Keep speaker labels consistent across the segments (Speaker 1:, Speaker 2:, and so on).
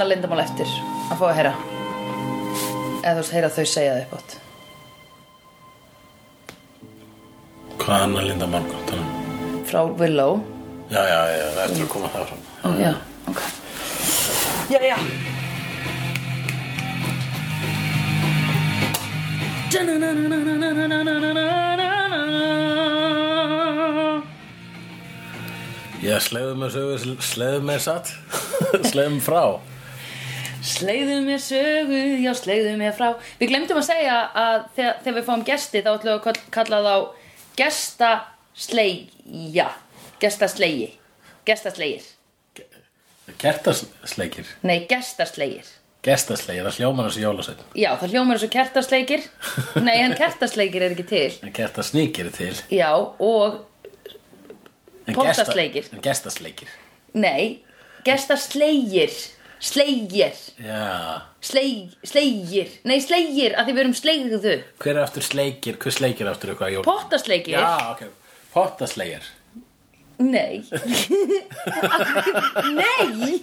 Speaker 1: eftir að fá að heyra eða þú veist heyra þau segja það upp átt
Speaker 2: Hvað annar Linda Margaret? Þannig-
Speaker 1: frá Willow
Speaker 2: Já, já, já, eftir að koma það fram.
Speaker 1: já, ok já, já
Speaker 2: Já, sleiðu mér sögu, sleiðu mér satt, sleiðu mér frá.
Speaker 1: Sleiðu mér sögu, já sleiðu mér frá Við glemdum að segja að þegar, þegar við fáum gesti þá ætlum við að kall- kalla þá gesta sleigja gesta sleigi gesta sleigir,
Speaker 2: Kertasleikir,
Speaker 1: nei gesta sleigir
Speaker 2: gestasleikir, það hljómar þessu jólasveitn.
Speaker 1: Já, það hljómar eins og kertasleikir Nei, en kertasleikir er ekki til
Speaker 2: En kertasníkir er til.
Speaker 1: Já, og
Speaker 2: En
Speaker 1: Póstasleikir.
Speaker 2: gesta- En gestasleikir.
Speaker 1: nei gestasleigir sleigir,
Speaker 2: Já.
Speaker 1: sleig, sleigir Nei, sleigir, að því við erum sleigðu
Speaker 2: Hver er aftur sleikir, hver sleikir er aftur eitthvað jól?
Speaker 1: Pottasleikir
Speaker 2: Já, ok. Pottasleikir.
Speaker 1: Nei Nei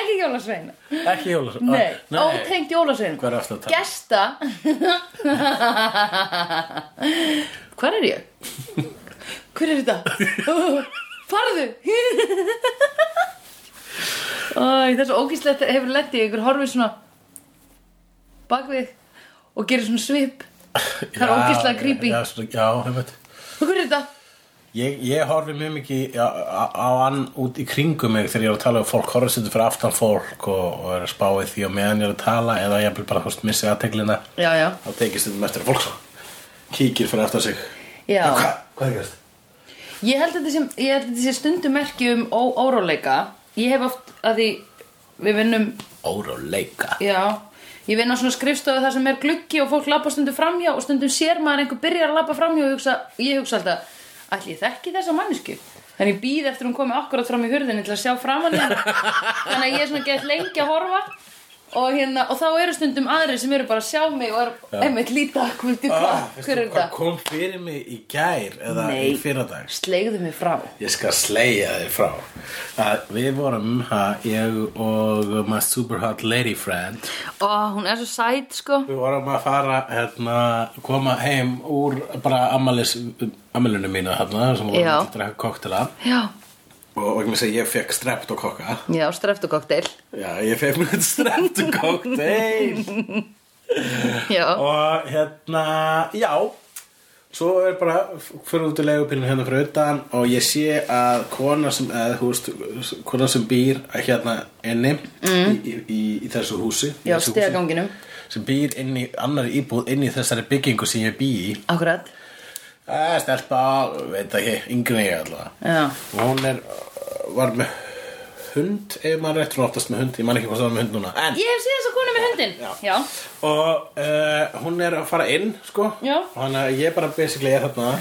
Speaker 1: Ekki jólasveina
Speaker 2: Ekki jólasveitn.
Speaker 1: Nei,
Speaker 2: Nei.
Speaker 1: ótengt jólasveina
Speaker 2: Hvað er aftur að tala?
Speaker 1: Gesta Hvar er ég? Hver er þetta? Farðu Æ, Það er svo ógíslegt hefur lett í ykkur horfið svona bakvið og gerir svona svip Það er
Speaker 2: Já,
Speaker 1: ógíslega
Speaker 2: já,
Speaker 1: creepy
Speaker 2: Já, svona- já, hefur
Speaker 1: Hver er þetta?
Speaker 2: Ég, ég horfi mjög mikið á, á, á hann út í kringum mig þegar ég er að tala um fólk, horfið sýttu fyrir aftan fólk og, og er að spá í því og meðan ég er að tala eða ég vil bara þú veist, missi aðteglina
Speaker 1: Já, já,
Speaker 2: þá tekist þetta mestur fólk svo kíkir fyrir aftan sig
Speaker 1: já.
Speaker 2: Hva, Hvað er gæst?
Speaker 1: Ég held að þetta sé, ég held að þetta sé stundum merki um ó, óróleika Ég hef oft að því við vinnum,
Speaker 2: Óróleika
Speaker 1: já Ég vinn á svona skrifstofu þar sem er gluggi og fólk labba stundum framhjá og stundum sér maður einhver byrjar að labba framhjá og hugsa, ég hugsa alltaf Ætli ég þekki þessa mannesku Þannig ég býð eftir hún komi akkurat fram í hurðinni til að sjá framan í hana Þannig að ég er svona gett lengi að horfa og, hérna, og þá eru stundum aðri sem eru bara að sjá mig og eru einmitt líta Hver veitu Ah, hvað, hver er
Speaker 2: Ah, Hvað
Speaker 1: þetta?
Speaker 2: kom fyrir mig í gær eða
Speaker 1: Nei.
Speaker 2: í fyrradags?
Speaker 1: Slegðu mig frá
Speaker 2: Ég skal slegja þér frá að Við vorum, ha, ég og my super hot lady friend
Speaker 1: Ó, hún er svo sæt sko
Speaker 2: Við vorum að fara hérna, koma heim úr bara ammalis, ammalinu mínu hérna, sem vorum
Speaker 1: Já.
Speaker 2: að drekka koktela
Speaker 1: Já,
Speaker 2: og vegna þess að ég fekk strept og kokka
Speaker 1: já, streftugokteil
Speaker 2: Já, ég fekk mér strept og kokteil
Speaker 1: Já,
Speaker 2: og hérna, já svo er bara fyrir út í legupilin hérna fyrir utan og ég sé að kona sem, eða, húst, kona sem býr hérna inni í, í, í, í þessu húsi í
Speaker 1: Mm. já,
Speaker 2: þessu húsi,
Speaker 1: stegaganginum
Speaker 2: sem býr inn í annari íbúð inn í þessari byggingu sem ég bý í
Speaker 1: Akkurat
Speaker 2: Það er stelpa, veit ekki, yngri en ég alltaf.
Speaker 1: Já,
Speaker 2: Og hún er, uh, var með hund, ef maður er rétt, hún er oftast með hund, ég man ekki hvað það var með hund núna. En,
Speaker 1: ég hef séð þess að konu með hundin
Speaker 2: Já.
Speaker 1: já,
Speaker 2: og uh, hún er að fara inn, sko.
Speaker 1: Já.
Speaker 2: Og Þannig að ég bara basically er þarna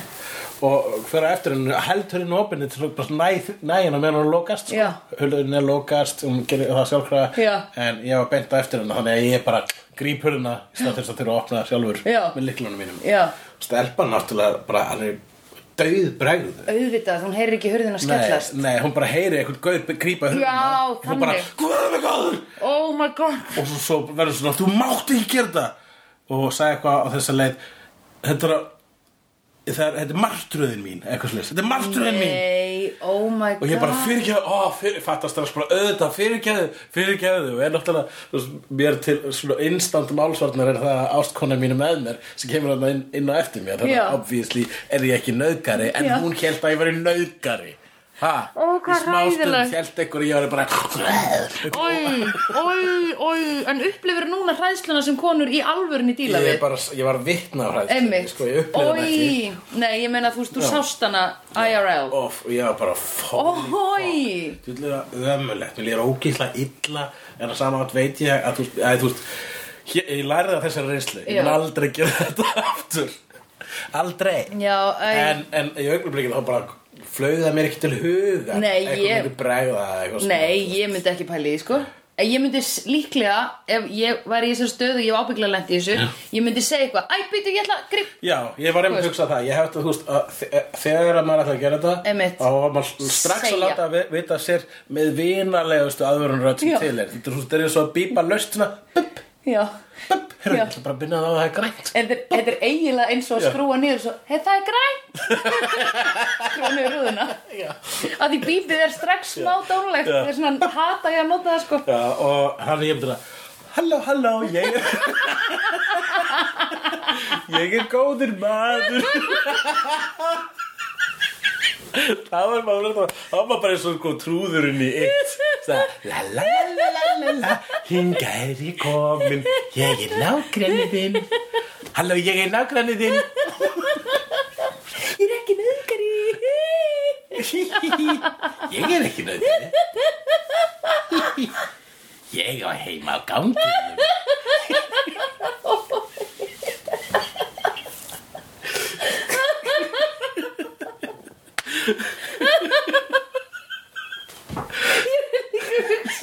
Speaker 2: og hver á eftir henni, heldur henni opinni til að bara næ, næ henni meðan hún lokast, sko.
Speaker 1: Já.
Speaker 2: Hulurinn er lokast, hún gerir það sjálfkrafa.
Speaker 1: Já.
Speaker 2: En ég var beint á eftir henni, þannig að ég bara gríp hurðina í stað þess að til að opna það sjálfur
Speaker 1: Já.
Speaker 2: með liklunum mínum.
Speaker 1: já
Speaker 2: Stelpan náttúrulega bara alveg dauð bregðu
Speaker 1: Auðvitað, hún heyrir ekki hurðin að
Speaker 2: Nei,
Speaker 1: skellast
Speaker 2: nei, hún bara heyri einhvern gauð grípa hurðina
Speaker 1: Já,
Speaker 2: og hún bara,
Speaker 1: þannig.
Speaker 2: hvað er með góður?
Speaker 1: Oh my god
Speaker 2: Og svo, svo verður svona, þú mátt ekki gera þetta Og sagði eitthvað á þessa leið Þetta er að Það er, þetta er martröðin mín, eitthvað slags Þetta er martröðin mín
Speaker 1: Nei, oh my god
Speaker 2: Og ég bara fyrirgæðu, ó, fyrir, fattast það bara auðvitað, fyrirgæðu, fyrirgæðu og er náttúrulega, þú veist, mér til svona instant málsvarnar er það að ástkona mínu með mér sem kemur hann inn, inn á eftir mér þannig
Speaker 1: Já.
Speaker 2: að obviously er ég ekki nöðgari en
Speaker 1: Já.
Speaker 2: hún held að ég væri nöðgari Ha,
Speaker 1: Ó, hvað
Speaker 2: í smástund
Speaker 1: hræðilegt.
Speaker 2: held ekkur ég væri bara
Speaker 1: Ói, ói, ói En upplifir núna hræðsluna sem konur í alvörunni díla
Speaker 2: Ég,
Speaker 1: við
Speaker 2: er bara, ég var vitna á hræðslu,
Speaker 1: Einmitt
Speaker 2: sko, ég upplifði hann ekki
Speaker 1: Ói, nei, ég meina þú veist, þú sást hana IRL
Speaker 2: Óf, og ég var bara fólk
Speaker 1: Ói
Speaker 2: Þú vil það ömulegt, mér líður ógísla illa en að sama átt veit ég að þú, að, þú veist, ég, ég lærði það þessari reynslu ég mun
Speaker 1: Já.
Speaker 2: aldrei gera þetta aftur aldrei
Speaker 1: Já, ei
Speaker 2: en, en í augnablikinu þá bara flauði það mér ekki til huga
Speaker 1: Nei,
Speaker 2: eitthvað
Speaker 1: ég-
Speaker 2: myndi bregða eða eitthvað svona.
Speaker 1: Nei, ég myndi ekki pæli því, sko Ég myndi s- líklega, ef ég væri í þessari stöðu og ég var ábygglega lent í þessu, ég myndi segja eitthvað, æ, býtu, ég ætla að grip,
Speaker 2: Já, ég var einmitt
Speaker 1: Þú veist.
Speaker 2: að hugsa það Ég hef þetta, þú veist, að þe- e, þegar að maður ætla að gera þetta
Speaker 1: Einmitt.
Speaker 2: Þá var maður strax
Speaker 1: Segja.
Speaker 2: að láta að vi- vita sér með vinalegustu aðvörunröð sem
Speaker 1: Já.
Speaker 2: til er Þetta er, þú veist, þetta er svo að bípa löst svona Bup,
Speaker 1: já.
Speaker 2: bup, hérna,
Speaker 1: Já.
Speaker 2: ég ætla bara að byrja það að það er grænt
Speaker 1: En þetta er- þetta er eiginlega eins og að
Speaker 2: Já.
Speaker 1: skrúa niður svo, hei, það er græn, skrúa niður rúðuna.
Speaker 2: Já.
Speaker 1: Að því bípið er strax smá dónlegt,
Speaker 2: Já.
Speaker 1: það er svona, hata ég að nota það sko.
Speaker 2: Já, og hann er ég myndi að Halló, halló, ég er Ég er góður maður Það var maður Það var bara eins og sko trúðurinn í eitt Það, La la la la la la Hinga er ég komin Ég er nágræni þinn Halló, ég er nágræni þinn
Speaker 1: Ég er ekki nöðgar
Speaker 2: Ég er ekki nöðin Ég var heima á ganginum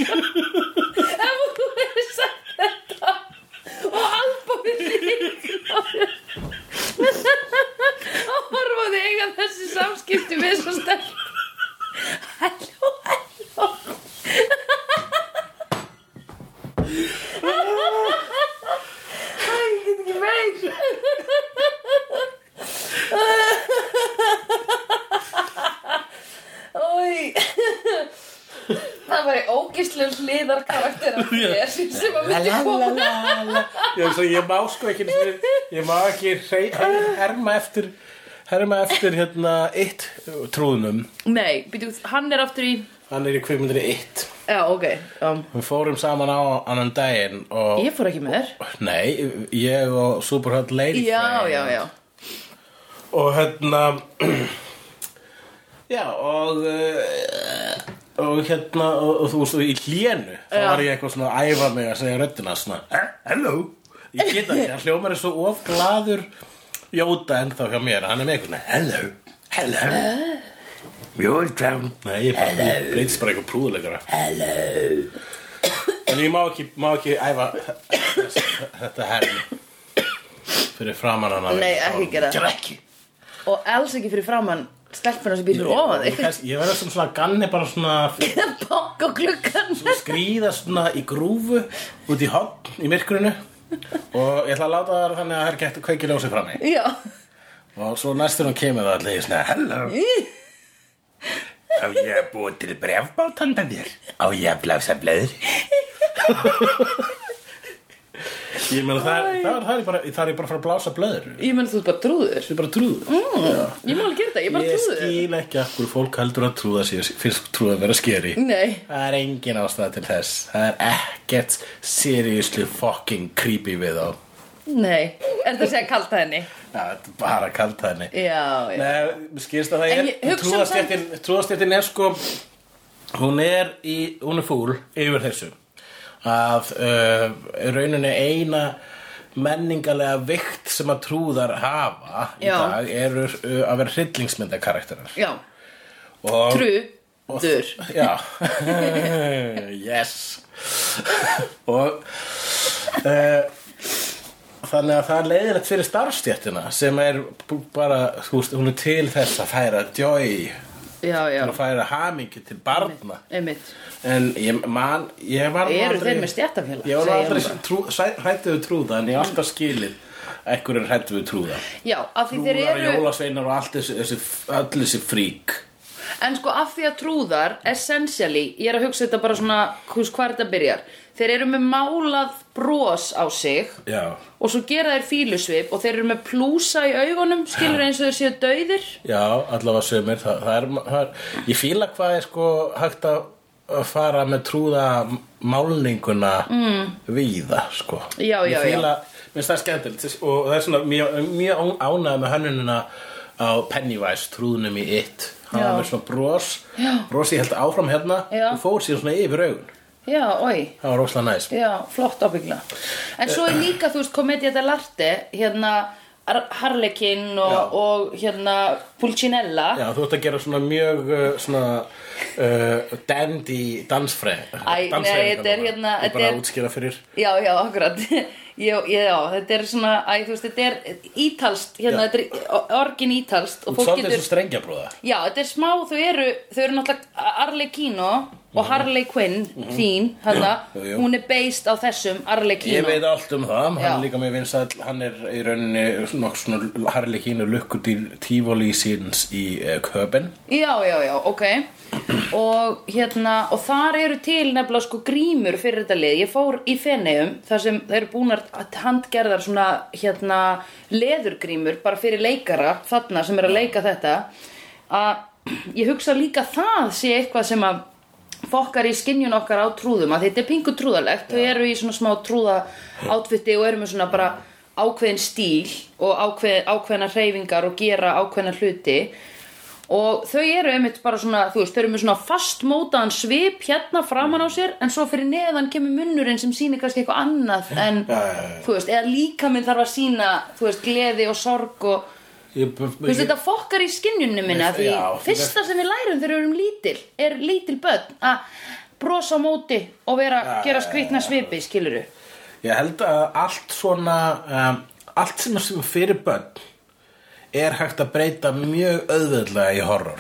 Speaker 1: Ef þú hefur sagt þetta og albúið þig og horfaði eiga þessi samskipti við svo stelp Halló, halló Æ, ég get ekki meir Æ Það var í ógislu hliðar karakter af þér sem að myndi koma
Speaker 2: Já, svo ég má sko ekki einu sinni- ég má ekki rey- herma eftir herma eftir hérna eitt trúðnum
Speaker 1: Nei, býtu, hann er aftur í
Speaker 2: hann er í kvikmyndinni eitt
Speaker 1: Já, ok um,
Speaker 2: við fórum saman á annan daginn og
Speaker 1: Ég fór ekki með þér
Speaker 2: nei, ég og Superhot Lady
Speaker 1: Já,
Speaker 2: Friend.
Speaker 1: já, já
Speaker 2: og hérna já og eh, og hérna og, og þú veist og í hlénu þá
Speaker 1: Já.
Speaker 2: var ég eitthvað svona að æfa mig að segja röddina svona "Eh, hello ég get það ekki, hann hljómar er svo of glaður jóta ennþá hjá mér hann er með einhvern veginn hello, hello you're down nei, ég bara ég breytist bara eitthvað prúðuleikara hello en ég má ekki, má ekki æfa þetta herri fyrir framan hana
Speaker 1: Nei, ekki gera það.
Speaker 2: gera ekki
Speaker 1: Og alls ekki fyrir framann stelpuna sem býr fyrir ofan
Speaker 2: Ég,
Speaker 1: þig
Speaker 2: kannski- ég verður svona, svona ganni bara svona
Speaker 1: Bokk á klukkan
Speaker 2: skrýða svona í grúfu út í hotn í myrkrinu og ég ætla að láta það vera þannig að það er gett að kveiki ljósið fram í
Speaker 1: Já
Speaker 2: og svo næstur hún kemur það allir svona Hello, á ég að búa til brefbát handa þér? Á ég að blása blöður? ég meina það, það, það, er bara, það er ég bara að fara að blása blöður
Speaker 1: Ég menn þú ert bara trúður
Speaker 2: Þetta er bara trúður
Speaker 1: Ég má alveg gera þetta, ég er bara
Speaker 2: Ég
Speaker 1: trúður
Speaker 2: skil ekki af hverju fólk heldur að trúða sér finnst trúða að vera skeri
Speaker 1: Nei
Speaker 2: Það er engin ástæða til þess Það er ekkert seriously fucking creepy við þá
Speaker 1: Nei, er þetta að segja kalt að henni?
Speaker 2: Já, þetta er bara að kalta henni
Speaker 1: Já, já
Speaker 2: Nei, mér skilst að það
Speaker 1: En
Speaker 2: er
Speaker 1: ég hugsa
Speaker 2: trúðastjættin, trúðastjættin er sko Hún er í, hún er fúl yfir þessu Að uh, rauninni eina menningalega vikt sem að trúðar hafa í
Speaker 1: Já.
Speaker 2: dag eru uh, að vera hryllingsmynda karakterar
Speaker 1: Já,
Speaker 2: og, og-
Speaker 1: trúður
Speaker 2: Já Yes Og uh, Þannig að það er leiðilegt fyrir starfstjættina sem er b- bara, þú veist, hún er til þess að færa djói
Speaker 1: Já, já,
Speaker 2: að færa hamingi til barna
Speaker 1: einmitt
Speaker 2: en ég man ég var nú
Speaker 1: Eru
Speaker 2: aldrei-
Speaker 1: þeir með stéttafélag?
Speaker 2: ég var
Speaker 1: Segja
Speaker 2: nú
Speaker 1: hún
Speaker 2: aldrei trú, hrættu við trúða en ég hef alltaf skilið að einhver er hrættu við trúða
Speaker 1: Já, af því þeir
Speaker 2: trúðar,
Speaker 1: eru
Speaker 2: jólasveinar og allt þessi, þessi, öll þessi frík
Speaker 1: En sko af því að trúðar Essentially, ég er að hugsa þetta bara svona Hvers hvað þetta byrjar Þeir eru með málað bros á sig
Speaker 2: já,
Speaker 1: Og svo gera þeir fílusvip Og þeir eru með plúsa í augunum Skilur eins og þeir séu dauðir
Speaker 2: Já, allavega sömur það, það, er, það er, Ég fíla hvað er sko hægt að að fara með trúða málninguna mm. víða sko.
Speaker 1: Já, já,
Speaker 2: Ég fíla, já Mér finnst það skemmtilegt og það er svona mjög, mjög ánægð með hönnunina á Pennywise trúðunum í It hann
Speaker 1: Já.
Speaker 2: var með svona bros brosi held áfram hérna
Speaker 1: Já.
Speaker 2: og fór síðan svona yfir augun
Speaker 1: Já, oi
Speaker 2: það var rosalega næs Eh.
Speaker 1: Já, flott ábyggla En svo er líka, þú veist, komedið þetta larte Hérna Har- Harlekin og,
Speaker 2: Já.
Speaker 1: og hérna Pulcinella
Speaker 2: Já, þú ert að gera svona mjög uh, svona uh, dandy dansfræð
Speaker 1: Æ, nei, þetta er hérna,
Speaker 2: Ég
Speaker 1: þetta
Speaker 2: bara
Speaker 1: er-
Speaker 2: útskýra fyrir
Speaker 1: Já, já, akkurat Ég, ég, já, þetta er svona, æ, þú veist, þetta er ítalst, hérna,
Speaker 2: Já.
Speaker 1: þetta er orgin ítalst og
Speaker 2: Þú
Speaker 1: fólk
Speaker 2: svolítið
Speaker 1: getur
Speaker 2: þessu strengjabróða
Speaker 1: Já, þetta er smá, þau eru, þau eru náttúrulega Arlequino
Speaker 2: Mhm.
Speaker 1: og Harley Quinn þín, hérna,
Speaker 2: Jú, jú.
Speaker 1: hún er based á þessum Arlequino
Speaker 2: Ég veit allt um það, hann
Speaker 1: Já.
Speaker 2: er líka mjög vinsæll, hann er í rauninni nokk svona harleikínu lukkudýr tífóli síns í uh, Köpen.
Speaker 1: Já, já, já, ok og, hérna, og þar eru til nefnilega sko grímur fyrir þetta lið Ég fór í Feneum þar sem þeir eru búnar handgerðar svona hérna, leðurgrímur bara fyrir leikara þarna sem eru að leika þetta að ég hugsa líka það sé eitthvað sem að fokkar í skinjun okkar á trúðum að þetta er pingu trúðalegt þau eru í svona smá trúða átfitti og eru með svona bara ákveðin stíl og ákveð, ákveðna hreyfingar og gera ákveðna hluti og þau eru einmitt bara svona, þú veist, þau eru með svona fastmótaðan svip hérna framan
Speaker 2: Mm.
Speaker 1: á sér en svo fyrir neðan kemur munnurinn sem sýnir kannski eitthvað annað en,
Speaker 2: Já, já, já.
Speaker 1: þú veist, eða líka minn þarf að sýna, þú veist, gleði og sorg og,
Speaker 2: Ég,
Speaker 1: þú veist, þetta fokkar í skinnjunum minna
Speaker 2: Veist-
Speaker 1: því
Speaker 2: já,
Speaker 1: fyrsta sem við lærum þegar við erum lítil er lítil börn að brosa á móti og vera,
Speaker 2: Já,
Speaker 1: gera
Speaker 2: já,
Speaker 1: skvítna svipi, skiluru
Speaker 2: ég held að allt svona, um, allt sem er sem er fyrir börn er hægt að breyta mjög auðveðlega í horror.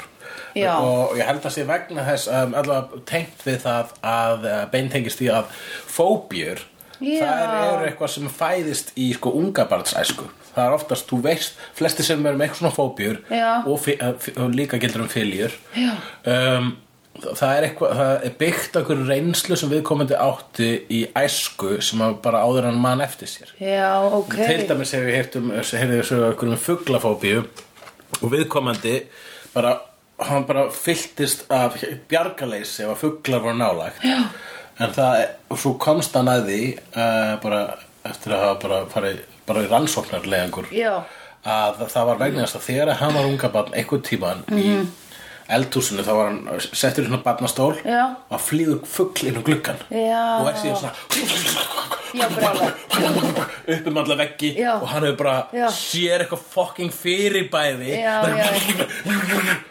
Speaker 1: Já.
Speaker 2: Og ég held að sé vegna þess um, allavega tengt við það að uh, beintengist því að fóbjur
Speaker 1: Já.
Speaker 2: það eru eitthvað sem fæðist í sko ungabarnsæsku það er oftast, þú veist, flesti sem eru með eitthvað svona fóbjur
Speaker 1: Já.
Speaker 2: og, fi- eh, fi- og líka gildur um fyljur
Speaker 1: Já.
Speaker 2: um, þa- það er eitthvað það er byggt okkur reynslu sem viðkomandi átti í æsku sem að bara áður en mann eftir sér
Speaker 1: já, ok
Speaker 2: til dæmis hefur ég heyrt um hefur ég sögur okkur um fuglafóbíu og viðkomandi bara hann bara fylltist af bjargaleysi ef að fuglar voru nálægt Já. en það og svo komst hann að því uh, bara eftir að hafa bara farið bara í rannsóknarlegangur
Speaker 1: Já.
Speaker 2: að það var vegna þess að þegar hann var unga barn einhvern tíman
Speaker 1: Mhm.
Speaker 2: í eldhúsinu þá var hann settur í svona barnastól
Speaker 1: Já.
Speaker 2: og flýður fugl inn á gluggan
Speaker 1: Já.
Speaker 2: og er síðan svona
Speaker 1: já, brjála
Speaker 2: upp um alla veggi
Speaker 1: Já.
Speaker 2: og hann hefur bara
Speaker 1: Já.
Speaker 2: sér eitthvað fucking fyrirbæði
Speaker 1: Já, já.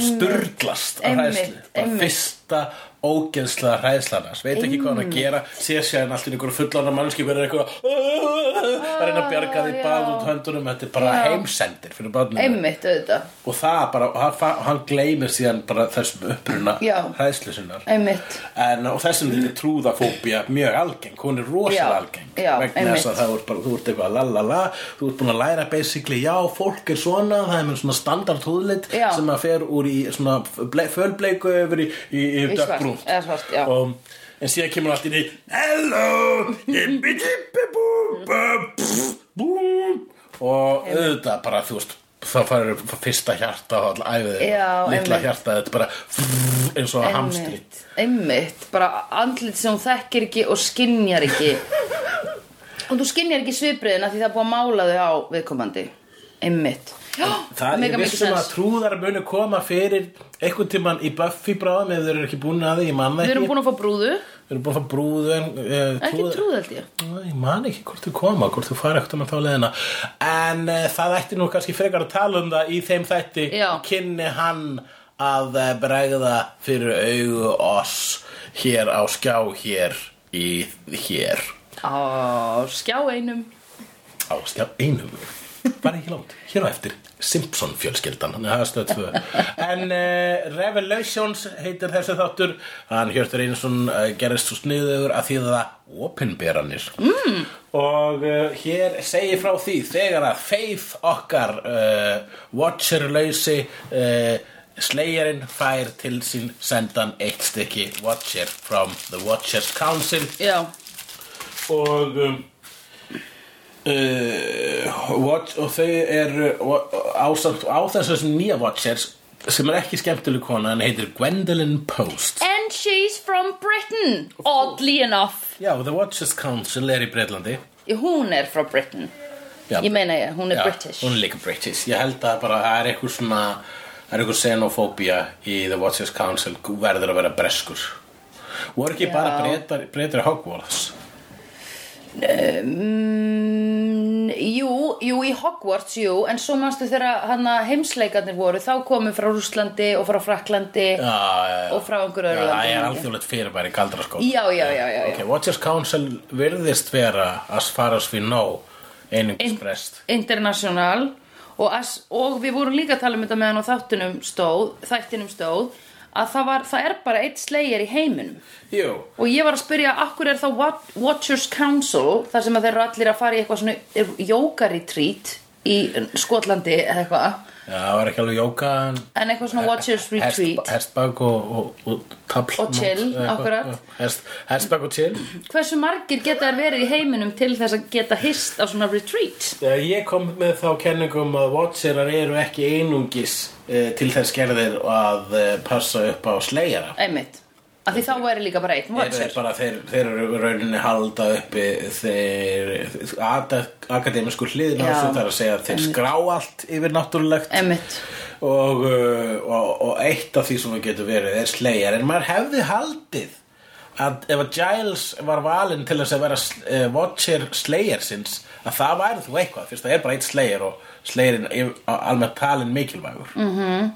Speaker 2: sturglast af
Speaker 1: Einmitt,
Speaker 2: hræðslu bara
Speaker 1: einmitt.
Speaker 2: fyrsta ógeðsla hræðslanas veit ekki hvað hann að gera sér sér hann allt í einhverju fullana mannski verður eitthvað "Ah, að reyna að bjarga því
Speaker 1: Ah, já.
Speaker 2: bað út höndunum þetta er bara
Speaker 1: Já.
Speaker 2: heimsendir fyrir barninu
Speaker 1: einmitt auðvitað,
Speaker 2: og það bara, og hann, fa- hann gleymir síðan bara þessum uppruna
Speaker 1: Já.
Speaker 2: hræðslu sinnar
Speaker 1: einmitt
Speaker 2: En, og þessum þetta er trúðafóbía mjög algeng, hún er rosalega
Speaker 1: Já,
Speaker 2: algeng
Speaker 1: já,
Speaker 2: vegna þess
Speaker 1: einmitt.
Speaker 2: að það voru bara, þú ert eitthvað la la la, þú ert búin að læra basically, já, fólk er svona, það er með svona standard húðlit
Speaker 1: Já.
Speaker 2: sem að fer úr í svona ble, fölbleiku yfir í, í, í
Speaker 1: Í svart,
Speaker 2: dökkbrúnt
Speaker 1: eða svart, já.
Speaker 2: Og- en síðan kemur allt í því hello, hippi dippi búm búm, búm og auðvitað bara, þú veist þá farir fyrsta hjarta og all æfið
Speaker 1: Já,
Speaker 2: litla
Speaker 1: einmitt.
Speaker 2: hjarta, þetta er bara eins og hamstri
Speaker 1: einmitt, einmitt bara andlit sem hún þekkir ekki og skinjar ekki og þú skinjar ekki svipriðina því það er búið að mála þau á viðkomandi einmitt já,
Speaker 2: Það er
Speaker 1: mega mikið
Speaker 2: vissum að
Speaker 1: sens.
Speaker 2: trúðar muni koma fyrir einhvern tímann í Buffy bráðum ef þeir eru ekki búin að því, ég man það
Speaker 1: við
Speaker 2: ekki
Speaker 1: erum búin að fá brúðu
Speaker 2: Við erum búin að fá brúðu en uh,
Speaker 1: ekki trúð held ég
Speaker 2: Æ, Ég man ekki hvort þau koma, hvort þau fara ekkert um að þá leðina En uh, það ætti nú kannski frekar að tala um það í þeim þætti
Speaker 1: Já.
Speaker 2: Kynni hann að uh, bregða fyrir augu oss hér á skjá hér í hér
Speaker 1: á skjá einum
Speaker 2: á skjá einum bara ekki langt, hér á eftir Simpson fjölskyldan, hann er aðstöð tvö en uh, Revelations heitir þessi þáttur hann Hjörtur Einarsson uh, gerist svo sniðugur að þýða það opinberanir mm. og uh, hér segi frá því þegar að Faith okkar uh, Watcher-lausi uh, Slayerinn fær til sín sendan eitt stykki Watcher from the Watchers Council
Speaker 1: já,
Speaker 2: og um, uh, watch, og þau eru uh, ásamt á þessu nýja Watchers sem er ekki skemmtileg kona en heitir Gwendolyn Post
Speaker 1: and she's from Britain oddly enough
Speaker 2: Já, The Watchers Council er í Breitlandi
Speaker 1: hún er frá Britain
Speaker 2: Já,
Speaker 1: ég meina ég, hún er
Speaker 2: Já,
Speaker 1: British
Speaker 2: Hún er líka British Ég held að bara það er eitthvað svona það er eitthvað xenofóbía í The Watchers Council verður að vera breskur voru ekki
Speaker 1: Já.
Speaker 2: bara breytar, breytar Hogwarts
Speaker 1: Mm, jú, jú, í Hogwarts, jú, en svo manstu þegar hana, heimsleikarnir voru, þá komum frá Rússlandi og frá Fraklandi.
Speaker 2: Já, já, já.
Speaker 1: Og frá einhverju öðru
Speaker 2: Já,
Speaker 1: landi,
Speaker 2: Það er
Speaker 1: held ég.
Speaker 2: alþjóðlegt fyrirbæri galdra sko
Speaker 1: Já, já, já, já, já.
Speaker 2: Ok, Watchers Council virðist vera as far as we know einungis brest
Speaker 1: International og, as, og við vorum líka að tala um þetta meðan á þáttunum stóð, þættinum stóð að það, var, það er bara eitt slegir í heiminum
Speaker 2: Jú,
Speaker 1: og ég var að spyrja akkur er þá Wat- Watchers Council þar sem að þeir eru allir að fara í eitthvað svona eh, yoga retreat í Skotlandi eða eitthvað
Speaker 2: já, það var ekki alveg jóka en
Speaker 1: en eitthvað svona Watchers
Speaker 2: hest-
Speaker 1: retreat
Speaker 2: Hestbak og, og, og tabl
Speaker 1: Og chill,
Speaker 2: eitthvað,
Speaker 1: akkurat.
Speaker 2: já, hest, Hestbak og chill
Speaker 1: hversu margir geta þær verið í heiminum til þess að geta hist á svona retreat
Speaker 2: Þegar ég kom með þá kenningum að Watcherar eru ekki einungis uh, til þess gerðir að uh, passa upp á slegjara
Speaker 1: einmitt, af því þá væri líka bara einn
Speaker 2: Þeir,
Speaker 1: Watcher
Speaker 2: bara, þeir, þeir eru rauninni halda uppi þeir ada- akademisku hliðin á
Speaker 1: Já.
Speaker 2: þessu þar að segja að þeir skrá allt yfir náttúrulegt
Speaker 1: einmitt
Speaker 2: og, uh, og, og eitt af því sem það getur verið er slegjar en maður hefði haldið að ef að Giles var valinn til þess að vera uh, Watcher Slayer sinns að það væri þú eitthvað fyrst það er bara eitt Slayer og Slayerinn er almennt talin mikilvægur mm -hmm.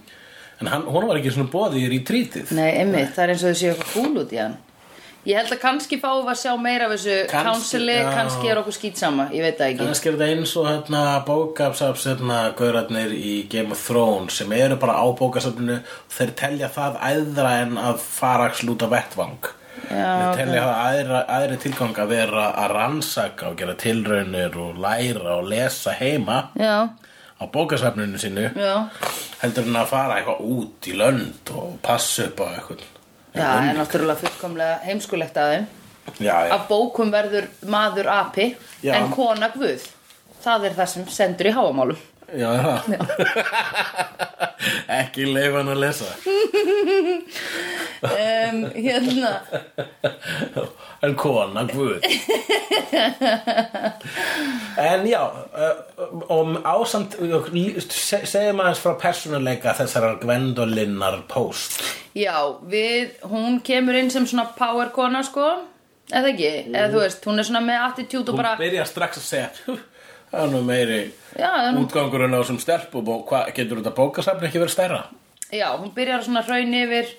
Speaker 2: en hann, hún var ekki svona boðið í retrítið
Speaker 1: Nei, einmitt, það er eins og þau séu eitthvað fúl út í hann Ég held að kannski fáum við að sjá meira af þessu
Speaker 2: Kannski,
Speaker 1: kánsili,
Speaker 2: já.
Speaker 1: kannski er okkur skýtsama, ég veit það ekki
Speaker 2: Kannski er þetta eins og hérna, bókafsaps hérna, gaurarnir í Game of Thrones sem eru bara á bókasafninu og þeir telja það æðra en að fara að slúta vettvang
Speaker 1: Já,
Speaker 2: þeir telja það æðra, æðri tilgang að vera að rannsaka og gera tilraunir og læra og lesa heima
Speaker 1: Já,
Speaker 2: á bókasafninu sínu
Speaker 1: já
Speaker 2: heldur en að fara eitthvað út í lönd og passa upp á eitthvað
Speaker 1: Já, það er náttúrulega fullkomlega heimskulegt að þeim
Speaker 2: já, já.
Speaker 1: Af bókum verður maður api
Speaker 2: Já.
Speaker 1: en kona guð Það er það sem sendur í háamálum
Speaker 2: já, er það ekki leif hann að lesa
Speaker 1: um, Hérna,
Speaker 2: En kona, guð En já uh, um, ásamt uh, se- segjum aðeins frá persónuleika þessarar Gwendolinnar post
Speaker 1: já, við, hún kemur inn sem svona power kona, sko Eða ekki, eða þú veist, hún er svona með attitude og
Speaker 2: Hún
Speaker 1: bara
Speaker 2: byrjar strax að segja "Hú, Það er nú meiri
Speaker 1: Já, það er nú
Speaker 2: útgangurinn á sem stelp og hvað getur þetta bókasafn ekki verið stærra?
Speaker 1: Já, hún byrjar að svona hraun yfir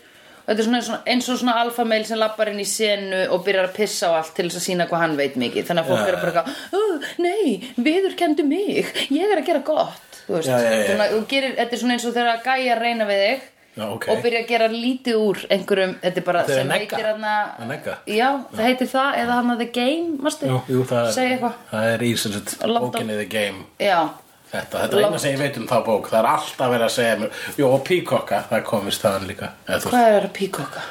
Speaker 1: og þetta er svona, svona eins og svona alfameil sem lappar inn í senu og byrjar að pissa á allt til þess að sína hvað hann veit mikið þannig að fólk
Speaker 2: Já,
Speaker 1: er bara eitthvað "Ú, nei, viður kendu mig, ég er að gera gott þú veist,
Speaker 2: Já, já, já.
Speaker 1: Svona, þú gerir, þetta er svona eins og þegar að gæja að reyna við þig
Speaker 2: Já, ok.
Speaker 1: og byrja að gera lítið úr einhverjum, þetta er bara
Speaker 2: Þeir
Speaker 1: sem
Speaker 2: negga.
Speaker 1: heitir hana
Speaker 2: Að negga.
Speaker 1: já, það heitir það eða hana The Game, mástu,
Speaker 2: jú, það,
Speaker 1: segja
Speaker 2: er,
Speaker 1: eitthvað
Speaker 2: það er í sem sagt
Speaker 1: Langt á-
Speaker 2: bókinni the game
Speaker 1: já,
Speaker 2: Þetta, þetta er eina sem ég veit um þá bók Það er alltaf verið að segja mér Jó, og píkokka, það komist þaðan líka Eða, þú
Speaker 1: hvað er að píkoka?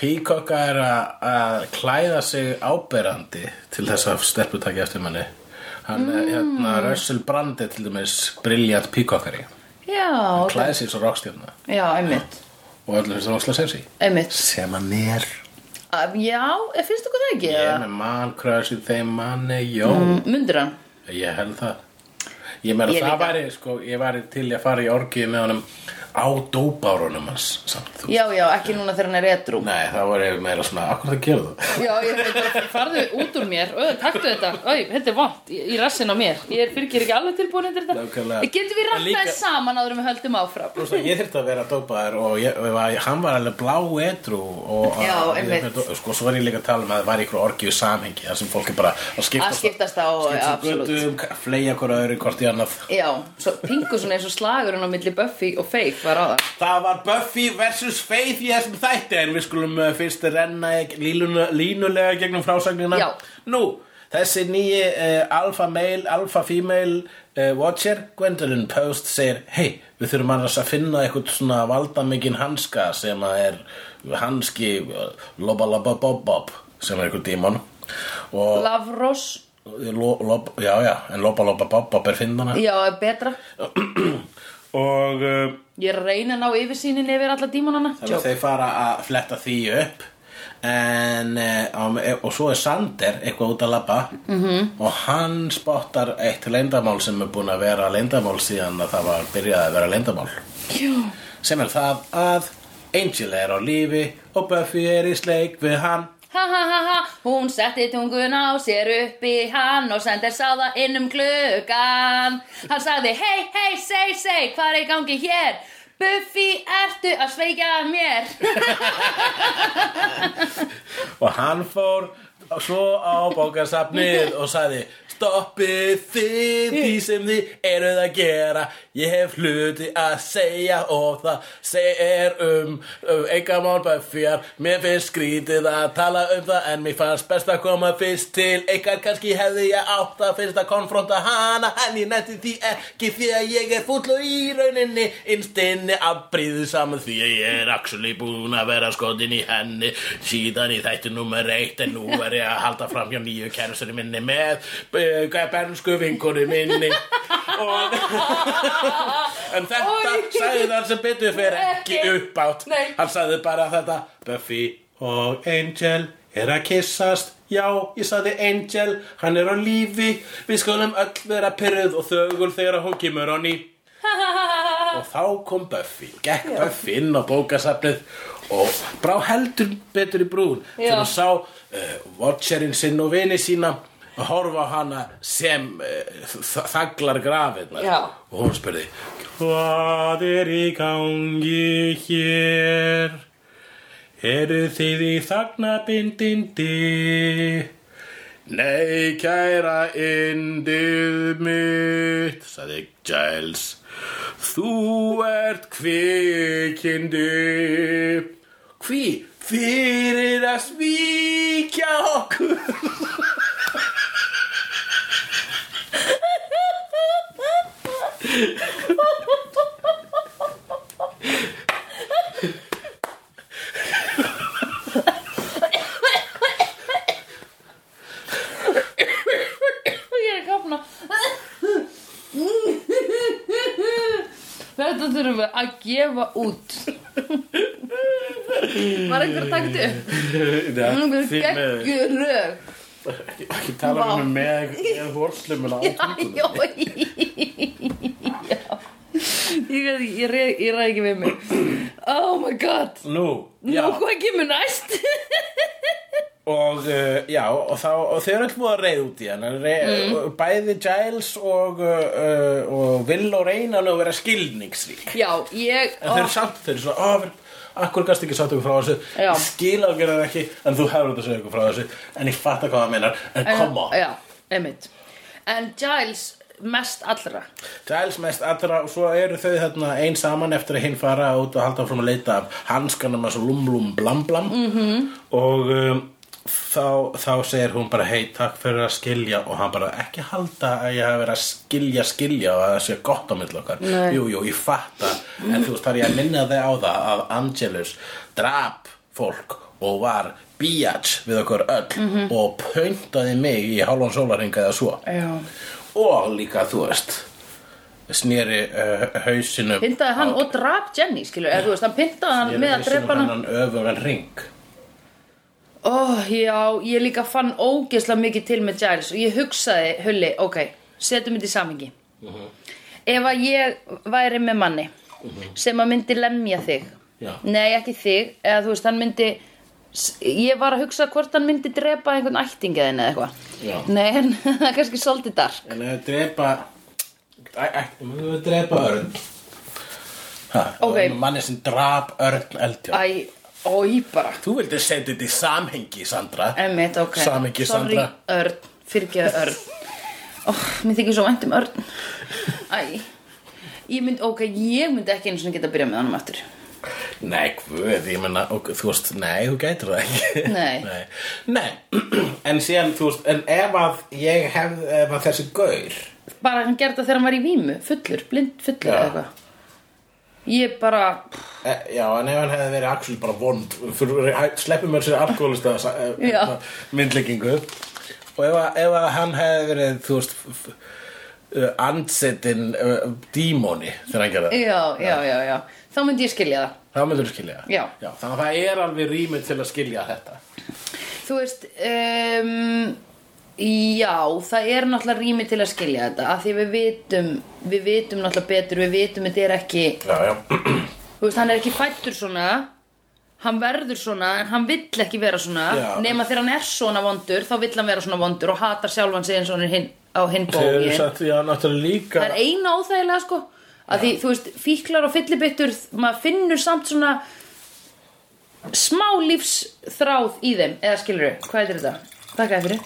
Speaker 2: Píkokka er að- að klæða sig áberandi til þess að stelpur taki eftir manni. Hann, mm. hérna, Russell Brand er til dæmis briljant píkokkari.
Speaker 1: já, okay.
Speaker 2: Klæði sig svo rockstjörna
Speaker 1: já, einmitt,
Speaker 2: og öllum finnst það rosslega sensi.
Speaker 1: einmitt
Speaker 2: Sem hann er.
Speaker 1: Að- Já, eh, finnst ykkur það ekki?
Speaker 2: Ég er
Speaker 1: eða?
Speaker 2: með mann kröðs í þeim manni, jó.
Speaker 1: Mm, Mundir hann?
Speaker 2: Ég held það. Ég meina
Speaker 1: Ég
Speaker 2: það
Speaker 1: líka.
Speaker 2: væri, sko, ég væri til í að fara í orgið með honum á dópárunum hans samt. Þú.
Speaker 1: Já, já, ekki núna þegar hann er edrú
Speaker 2: Nei, það var ég meira svona, akkur það gerðu það?
Speaker 1: Já, ég veit bara, farðu út úr mér Öð, taktu þetta, Öð, þetta er vant í, í rassin á mér Ég er fyrkir ekki alveg tilbúin undir þetta
Speaker 2: Nákvæmlega.
Speaker 1: Getum við
Speaker 2: En
Speaker 1: rætt
Speaker 2: líka-
Speaker 1: þess saman áður en við höldum áfram
Speaker 2: Þú veist að ég þurfti að vera dópaður og ég, og ég var, hann var alveg blá etru og
Speaker 1: Já,
Speaker 2: og-
Speaker 1: einmitt.
Speaker 2: sko, svo var ég líka að tala um að það var ykkur orgið samhengi þar sem fólk er bara að
Speaker 1: Að
Speaker 2: skiptast
Speaker 1: skiptast á, absolutt
Speaker 2: göttum, fleja hver öðru hvort í annað
Speaker 1: Já, svo pingu svona eins og slagurinn á milli Buffy og Faith var á það
Speaker 2: Það var Buffy vs. Faith í þessum þætti en við skulum uh, fyrst renna í- línuna, línulega gegnum frásagnina
Speaker 1: Já.
Speaker 2: Nú, þessi nýji uh, alfa male, alfa female uh, watcher, Gwendolyn Post segir, hei, við þurfum annars að finna eitthvað svona valdamikinn hanska sem að er hanski lobalababobob sem er eitthvað dímon og eh,
Speaker 1: Lavros,
Speaker 2: lo, lob, já, já, en lobalababobob er finnana
Speaker 1: já, er betra
Speaker 2: og uh,
Speaker 1: Ég reyna að ná yfirsýnin yfir alla dímonana
Speaker 2: Þannig að þeir fara að fletta því upp en, eh, og svo er Sander eitthvað út að labba -hmm. og hann spottar eitt leyndamál sem er búin að vera leyndamál síðan að það var byrjað að vera leyndamál
Speaker 1: Jú,
Speaker 2: sem er það að Angel er á lífi og Buffy er í sleik við hann
Speaker 1: ha ha ha ha Hún setti tungun á sér upp í hann og sendir sáða inn um gluggan Hann sagði hei hei seg seg hvað er í gangi hér Buffy ertu að sveikja mér
Speaker 2: Og hann fór svo á bókasafnið og sagði Stoppið þið því sem þið eruð að gera Ég hef hluti að segja og það segir um, um eigamál Buffyar Mér finnst skrítið að tala um það en mér fannst best að koma fyrst til Eikar kannski hefði ég átt að fyrst að konfronta hana En ég nætti því ekki því að ég er fúll og í rauninni Innstinni að bríðu saman því að ég er actually búin að vera skotin í henni Síðan í þættu nummer eitt en nú er ég að halda fram hjá nýju kærastunni minni með eh, bernsku vinkonu minni og en þetta
Speaker 1: Oj.
Speaker 2: sagði það sem betur fyrir ekki uppátt
Speaker 1: Nei.
Speaker 2: hann sagði bara þetta Buffy og Angel er að kyssast Já, ég sagði Angel, hann er á lífi Við skulum öll vera pyrruð og þögul þegar hún kemur á ný
Speaker 1: Ha ha ha ha ha
Speaker 2: Og þá kom Buffy, gekk Buffy inn á bókasafnið og brá heldur betur í brún
Speaker 1: Já.
Speaker 2: þegar hún sá uh, Watcherinn sinn og vini sína að horfa á hana sem uh, þaglar grafirnar
Speaker 1: Já.
Speaker 2: og hún spurði Hvað er í gangi hér? Eru þið í þagnabindindi? Nei, kæra indið mitt, sagði Giles. Þú ert kvikindi. Hví? Fyrir að svíkja okkur.
Speaker 1: Ég er að kapna Þetta þurfum við að gefa út Var einhver að taka þetta upp? Það er geggjur lög
Speaker 2: Ekki, ekki tala
Speaker 1: Vá.
Speaker 2: um með, með hórslumuna á tungunum.
Speaker 1: Já, já. Ég, ég, ég, re- ég ræði ekki við mig Oh my god
Speaker 2: Nú,
Speaker 1: Nú, hvað kemur næst?
Speaker 2: Og, uh, já, og, þá, og þau eru alltaf að reyða út í hann mm. Bæði Giles og, uh, uh, og Will og Reyna að vera skilningsrík
Speaker 1: Já, ég
Speaker 2: En þau eru samt, þau eru svona, "Ah, ó, akkur gast ekki sagt okkur frá þessu
Speaker 1: Já.
Speaker 2: Ég Skil á gerðar ekki, en þú hefur þetta að segja okkur frá þessu En ég fatta hvað það meinar, en koma
Speaker 1: eh, Já, einmitt En Giles mest allra
Speaker 2: Giles mest allra og svo eru þau þarna einn saman eftir að hinn fara út og halda áfram að leita af hanskanum að svo lum-lum blam-blam -hmm. og um, þá, þá segir hún bara hei, takk fyrir að skilja og hann bara ekki halda að ég hafi verið að skilja skilja og að það sé gott á milli okkar
Speaker 1: Nei.
Speaker 2: jú, jú, ég fatta en þú veist þar ég að minna þig á það að Angelus drap fólk og var bíats við okkur öll og pöntaði mig í hálfan sólaringa eða svo
Speaker 1: Já
Speaker 2: og líka þú veist sneri uh, hausinu
Speaker 1: Pyntaði hann og drap Jenny, skilur, eða þú veist, hann pyntaði hann með að drepa hana.
Speaker 2: hann öfugan ring
Speaker 1: Ó, Oh, já, ég líka fann ógeðslega mikið til með Giles og ég hugsaði, Hulli, ok, setjum þetta í samingi. Ef að ég væri með manni sem að myndi lemja þig,
Speaker 2: Já.
Speaker 1: nei ekki þig, eða þú veist, hann myndi, s- ég var að hugsa hvort hann myndi drepa einhvern ættingaðin eða eitthvað.
Speaker 2: Já.
Speaker 1: Nei, en það er kannski svolítið dark.
Speaker 2: en ef þau drepa Æ, æ, um þau drepa örn ha,
Speaker 1: Ok.
Speaker 2: um manni sem drap örn eldjón
Speaker 1: Æ, ói bara.
Speaker 2: þú vildi setja þetta í samhengi Sandra
Speaker 1: Emmett, ok.
Speaker 2: Samhengi, Sandra.
Speaker 1: Sorry, Örn. Fyrirgeðu Örn. Ó, mér þykir svo vænt um Örn. Æ. Ég mynd, ok, ég myndi ekki eins og geta að byrja með honum aftur.
Speaker 2: Nei, hvað, ég menna, og, þú veist, nei, þú gætir það ekki
Speaker 1: Nei.
Speaker 2: Nei, nei. en síðan, þú veist, en ef að ég hef, ef að þessi gaur
Speaker 1: Bara hann gerði það þegar hann var í vímu, fullur, blind fullur
Speaker 2: Já.
Speaker 1: eða eitthvað. Ég bara,
Speaker 2: E, já, en ef hann hefði verið actually bara vond fyrir sleppum mér sér alkoholista
Speaker 1: Já.
Speaker 2: myndlíkingu og ef, að- ef að hann hefði verið þú veist f- f- uh, andsetin uh, dímoni þegar hann gerði það,
Speaker 1: já, já, já, já. Þá myndi ég skilja það.
Speaker 2: þá myndur þú skilja það.
Speaker 1: Já.
Speaker 2: þannig að það er alveg rými til að skilja þetta
Speaker 1: Þú veist, um, já, það er náttúrulega rými til að skilja þetta. Af því við vitum, við vitum náttúrulega betur, við vitum þetta er ekki...
Speaker 2: já, já,
Speaker 1: þú veist, hann er ekki fættur svona hann verður svona en hann vill ekki vera svona
Speaker 2: Já.
Speaker 1: nema þegar hann er svona vondur þá vill hann vera svona vondur og hatar sjálfan sig eins og hann er hinn á hinn
Speaker 2: Þeir
Speaker 1: bógin
Speaker 2: eru satt, já, náttúrulega líka
Speaker 1: það er eina óþægilega sko að því, þú veist, fíklar og fyllibittur maður finnur samt svona smá lífsþráð í þeim eða skilur við, hvað er þetta? Takk að fyrir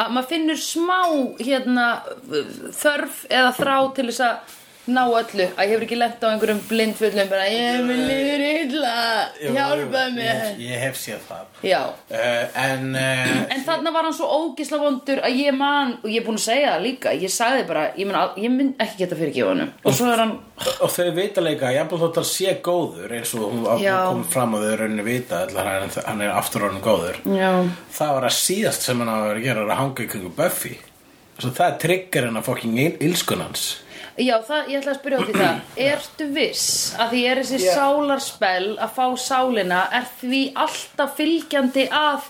Speaker 1: að maður finnur smá hérna þörf eða þrá til þess að ná öllu, að ég hefur ekki lent á einhverjum blindfullum bara ég mun líður illa
Speaker 2: Jú,
Speaker 1: hjálpa
Speaker 2: jú,
Speaker 1: mér
Speaker 2: Ég, ég hef séð það
Speaker 1: já,
Speaker 2: uh, En uh,
Speaker 1: En þarna var hann svo ógisla vondur að ég man, og ég er búin að segja það líka, ég sagði bara, ég mun, al- ég mun ekki geta fyrirgefa hann. Og svo er hann,
Speaker 2: og þau vita leika Ég búið þótt að sé góður eins og hún var-
Speaker 1: Já.
Speaker 2: kom fram að þau rauninni vita allar hann, hann er aftur honum góður
Speaker 1: já,
Speaker 2: Það var að síðast sem hann á að vera að gera er að hanga í kringu Buffy Svo það trigger hennar fucking il- ilskun hans
Speaker 1: já, það, ég ætla að spyrja út í það, ertu viss að því er þessi
Speaker 2: Já.
Speaker 1: sálarspell að fá sálina, er því alltaf fylgjandi að,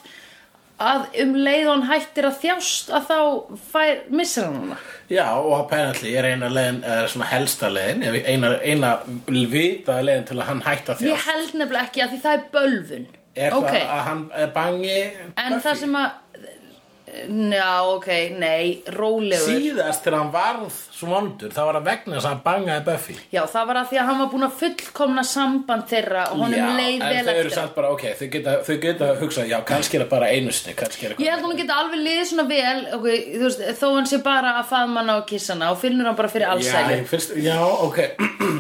Speaker 1: að um leið og hann hættir að þjást að þá fær, missir hann hana?
Speaker 2: Já, og apparently er eina leiðin, eða svona helsta leiðin, ef eina, eina vitaði leiðin til að hann hætta þjá.
Speaker 1: Ég held nefnilega ekki að því það er bölvun.
Speaker 2: Er
Speaker 1: Ok.
Speaker 2: það að hann er bangi?
Speaker 1: En það sem að, já, ok, nei, rólegur.
Speaker 2: Síðast þegar hann varð svondur, það var að vegna þess að hann bangaði Buffy.
Speaker 1: Já, það var að því að hann var búin að fullkomna samband þeirra og honum leið vel
Speaker 2: en þau eru
Speaker 1: eftir.
Speaker 2: samt bara, ok, þau geta, þau geta hugsað, já, kannski er það bara einu sinni, kannski er það.
Speaker 1: Ég held að hún geta alveg liðið svona vel, ok, þú veist, þó hann sé bara að faðma hana og kissa hana og finnur hann bara fyrir
Speaker 2: Já,
Speaker 1: allsæli.
Speaker 2: ég finnst, já, ok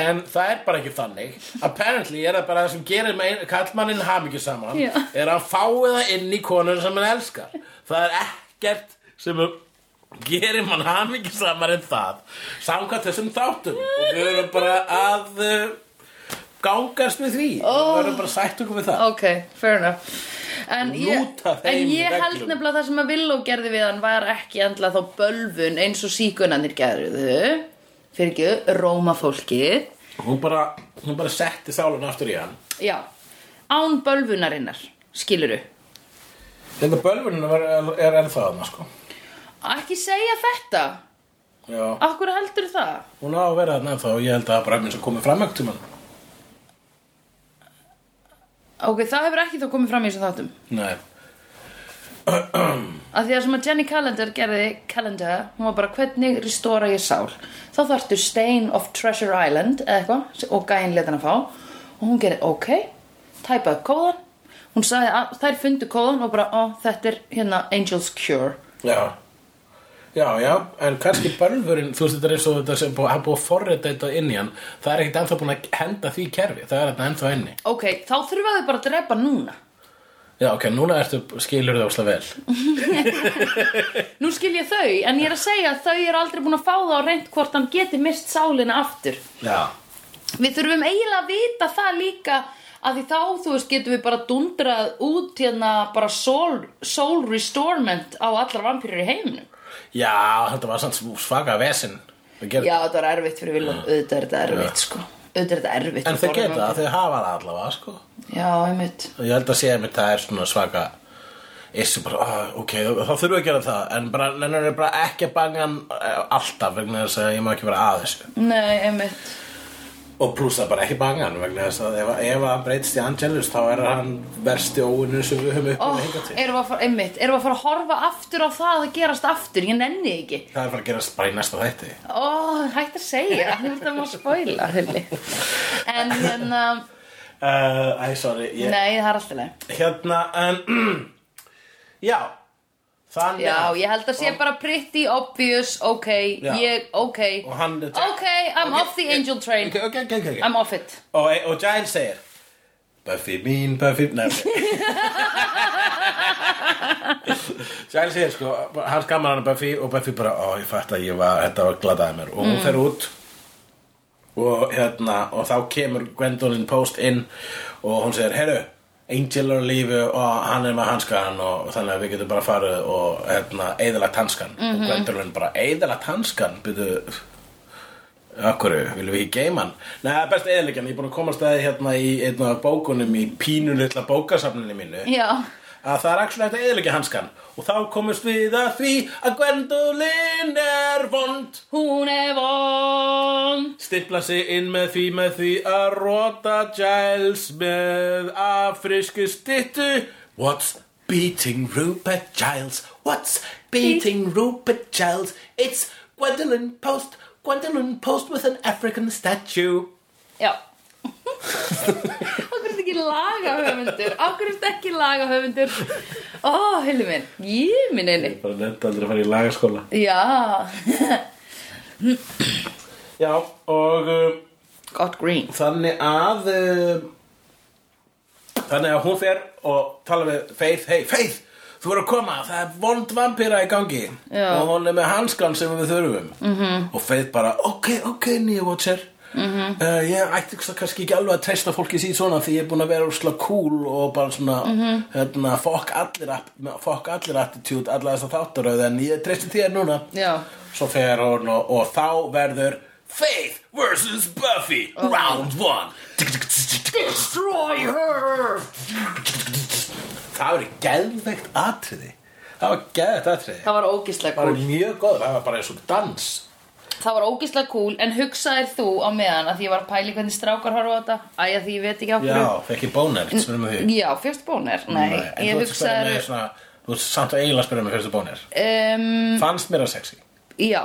Speaker 2: En það er bara ekki þannig Apparently er það bara það sem gerir með kallmanninn hamingju saman
Speaker 1: Já.
Speaker 2: er að hann fái það inn í konur sem hann elskar Það er ekkert sem gerir mann hamingju saman en það Samkvæmt þessum þáttum og við erum bara að uh, gangast við því oh. Við erum bara sætt okkur við það
Speaker 1: Ok, fair enough. En ég,
Speaker 2: Lúta þeim
Speaker 1: en ég held
Speaker 2: reglum.
Speaker 1: nefnilega það sem að Villó gerði við hann var ekki endla þá bölvun eins og síkunanir gerðu, fyrir ekki, róma fólkið.
Speaker 2: Hún bara, hún bara setti sálun aftur í hann
Speaker 1: Já, án bölvunarinnar, skiluru.
Speaker 2: Þetta bölvunum er, er ennþá þarna sko
Speaker 1: Ekki segja þetta,
Speaker 2: Já
Speaker 1: akkur heldur það?
Speaker 2: Hún á að vera þarna ennþá og ég held að það bara minn sem komið fram ekkert um hann.
Speaker 1: Ok, það hefur ekki þá komið fram í þessum þáttum
Speaker 2: Nei.
Speaker 1: Af því að sem að Jenny Calendar gerði Calendar, hún var bara hvernig restora ég sál Þá þarftu Stain of Treasure Island eða eitthvað og gæinn leta hann að fá og hún gerði ok, tæpaði kóðan hún sagði að þær fundu kóðan og bara ó, þetta er hérna Angel's Cure
Speaker 2: Já. Já, já, en kannski bölvurinn, þú veist þetta er eins og þetta sem búið, hann búið að forrita þetta inn í hann, það er ekkert ennþá búin að henda því kerfi, það er þetta ennþá inni.
Speaker 1: Ok, þá þurfa þau bara að drepa núna
Speaker 2: Já, ok, núna ertu, skilur það óslega vel.
Speaker 1: Nú skil ég þau, en ég er að segja að þau eru aldrei búin að fá það á reynd hvort hann geti mist sálina aftur
Speaker 2: Já.
Speaker 1: Við þurfum eiginlega að vita það líka að því þá, þú veist, getum við bara dundrað út hérna bara soul, soul restorement á allar vampýrur í heiminum.
Speaker 2: Já, þetta var samt svaka vesinn.
Speaker 1: Já, þetta var erfitt fyrir Vilum, auðvitað er þetta erfitt, sko. Auðvitað er þetta erfitt.
Speaker 2: En
Speaker 1: að
Speaker 2: þau
Speaker 1: borða
Speaker 2: geta,
Speaker 1: vampírur.
Speaker 2: þau hafa það allavega, sko.
Speaker 1: Já, einmitt.
Speaker 2: Og ég held að sé að mér það er svona svaka Issu bara, ah, ok, þá þá þurfum við að gera það En bara, nennar er bara ekki að banga hann eh, Alltaf vegna þess að ég má ekki vera að þessu
Speaker 1: Nei, einmitt.
Speaker 2: Og pluss það bara ekki banga hann Vegna þess að ef, ef hann breytist í Angelus Þá er hann versti óinu sem við höfum upp
Speaker 1: Ó,
Speaker 2: oh, hinga til
Speaker 1: erum við að fara, einmitt, erum við að fara að horfa aftur á það að gerast aftur, ég nenni því ekki.
Speaker 2: Það er bara að gerast bara í næsta þætti
Speaker 1: Ó, hægt að segja, þú ert að maður spoila, hulli. En hérna,
Speaker 2: uh, Æ, sorry, ég,
Speaker 1: nei, það er alltaf leið.
Speaker 2: hérna, en Já, þannig
Speaker 1: Já,
Speaker 2: að-
Speaker 1: ég held að sé bara pretty obvious, ok,
Speaker 2: Já.
Speaker 1: ég, ok,
Speaker 2: Og hann er-
Speaker 1: ok, I'm off the angel train,
Speaker 2: Ok, ok, ok, ok, ok
Speaker 1: I'm off it.
Speaker 2: Og, og Giles segir Buffy mín, Buffy Nefni Giles segir sko Hann skammar hann að Buffy og Buffy bara Ó, ég fætt að ég var, þetta var gladaði mér Og hún fer út og, hérna, og þá kemur Gwendolyn Post inn Og hún segir, heyrðu Angel er á lífi og hann er með hanskan og þannig að við getum bara farið og hérna, eðalagt hanskan og Gwendolyn bara, eðalagt hanskan byrju, Akkur, viljum við ekki geima hann? Nei, það er best eðilegjan, ég er búin að komast að því hérna í einn af bókunum í pínu litla bókasafninu mínu
Speaker 1: Já,
Speaker 2: að það er actually hægt að eðilegja hanskan og þá komumst við að því að Gwendolyn er vond
Speaker 1: hún er vond,
Speaker 2: Stimpla sig inn með því, með því að rota Giles með afrisku stittu What's beating Rupert Giles? What's beating Rupert Giles? It's Gwendolyn Post, Gwendolyn Post with an African statue
Speaker 1: Já Akkur er þetta ekki lagahöfundur Akkur er þetta ekki lagahöfundur Ó, heilu minn Ég minn einni
Speaker 2: Bara nefndi aldrei að fara í lagaskóla
Speaker 1: Já
Speaker 2: Já, og... Um,
Speaker 1: Gott green
Speaker 2: Þannig að um, Þannig að hún fer og tala við Faith, hei Faith, þú er að koma það er vond vampíra í gangi
Speaker 1: Já. Mhm.
Speaker 2: og hún er með hanskan sem við þurfum -hmm. og Faith bara, ok, ok, nýja watcher mm -hmm. uh, ég ætti það kannski ekki alveg að treysta fólki síð svona því ég er búin að vera úrsla cool og bara svona mm
Speaker 1: Mhm.
Speaker 2: -hmm. hérna, fokk allir app- fokk allir attitude, alla þess að þáttaröð en ég treysti þér núna
Speaker 1: Já
Speaker 2: Svo fer hún og, og þá verður Faith vs. Buffy Round 1
Speaker 1: Oh. Destroy her
Speaker 2: Það verður geðveikt atriði Það var geðveikt atriði
Speaker 1: Það var ógislega
Speaker 2: Það
Speaker 1: cool
Speaker 2: var mjög góð, það var bara eins og dans
Speaker 1: Það var ógislega cool En hugsaðir þú á meðan að því ég var að pæli hvernig strákar horfa á þetta Æ, að því ég veit ekki á
Speaker 2: Já,
Speaker 1: hverju
Speaker 2: fekk ég bónir, spyrir mig því
Speaker 1: Já, fjöfst bónir Nei,
Speaker 2: en
Speaker 1: ég um,
Speaker 2: þú ert að spyrja mig
Speaker 1: hugsaðir
Speaker 2: svona, Þú ert samt að eiginlega spyrir mig fyrstu bónir
Speaker 1: um,
Speaker 2: Fannst mér að sexy
Speaker 1: Já